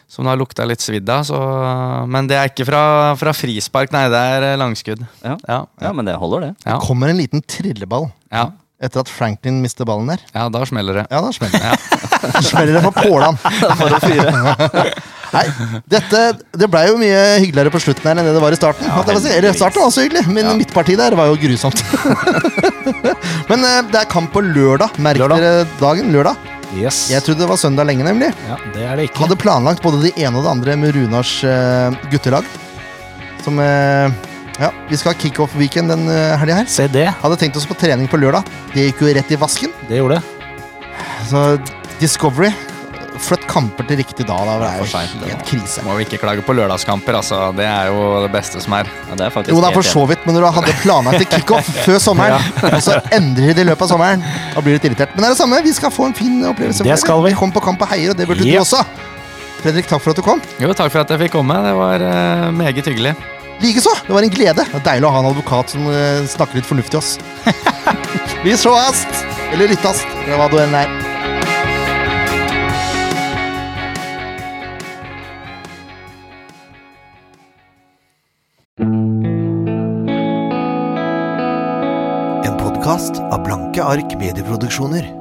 Speaker 3: som det har lukta litt svidd av. så- Men det er ikke fra, fra frispark, nei. Det er eh, langskudd.
Speaker 4: Ja.
Speaker 3: Ja,
Speaker 4: Ja, men det holder, det.
Speaker 3: ja,
Speaker 2: Kommer en liten trilleball
Speaker 3: ja,
Speaker 2: etter at Franklin mister ballen der.
Speaker 3: ja da smeller det.
Speaker 2: Ja, da smeller det. [laughs] Da smeller det for Pålan.
Speaker 4: For å fyre.
Speaker 2: [laughs] Nei, dette, det blei jo mye hyggeligere på slutten her enn det det var i starten. Ja, Eller starten var også hyggelig, men midtpartiet der var jo grusomt. [laughs] men eh, det er kamp på lørdag. Merk
Speaker 1: Lørdag.
Speaker 2: dere dagen. Lørdag.
Speaker 1: Yes.
Speaker 2: Jeg trodde det var søndag lenge, nemlig.
Speaker 1: Ja, det er det ikke.
Speaker 2: Hadde planlagt både det ene og det andre med Runars eh, guttelag. Som eh, Ja, vi skal ha kickoff-weekend den uh, helga her.
Speaker 1: Se det.
Speaker 2: Hadde tenkt oss på trening på lørdag. Det gikk jo rett i vasken.
Speaker 1: Det gjorde det.
Speaker 2: Så Discovery Flytt kamper til riktig da. da det er
Speaker 4: for sent,
Speaker 2: jo
Speaker 4: det
Speaker 2: helt krise.
Speaker 3: Må vi ikke klage på lørdagskamper, altså. Det er jo det beste som er.
Speaker 4: Ja, det er faktisk
Speaker 2: Jo da,
Speaker 4: helt
Speaker 2: for så vidt, men når du hadde planlagt til kickoff før sommeren, og så endrer de det i løpet av sommeren, da blir du litt irritert. Men det er det samme, vi skal få en fin opplevelse.
Speaker 1: Det skal vi.
Speaker 2: Kom på kamp og heier, og det burde
Speaker 1: Ja.
Speaker 2: du også. Fredrik, takk for at du kom.
Speaker 3: Jo, takk for at jeg fikk komme. Det var eh, meget hyggelig.
Speaker 2: Likeså. Det var en glede. Det er deilig å ha en advokat som eh, snakker litt fornuftig til oss. [laughs] vi sjåast, eller lyttast, eller hva du enn er.
Speaker 6: En podkast av Blanke ark medieproduksjoner.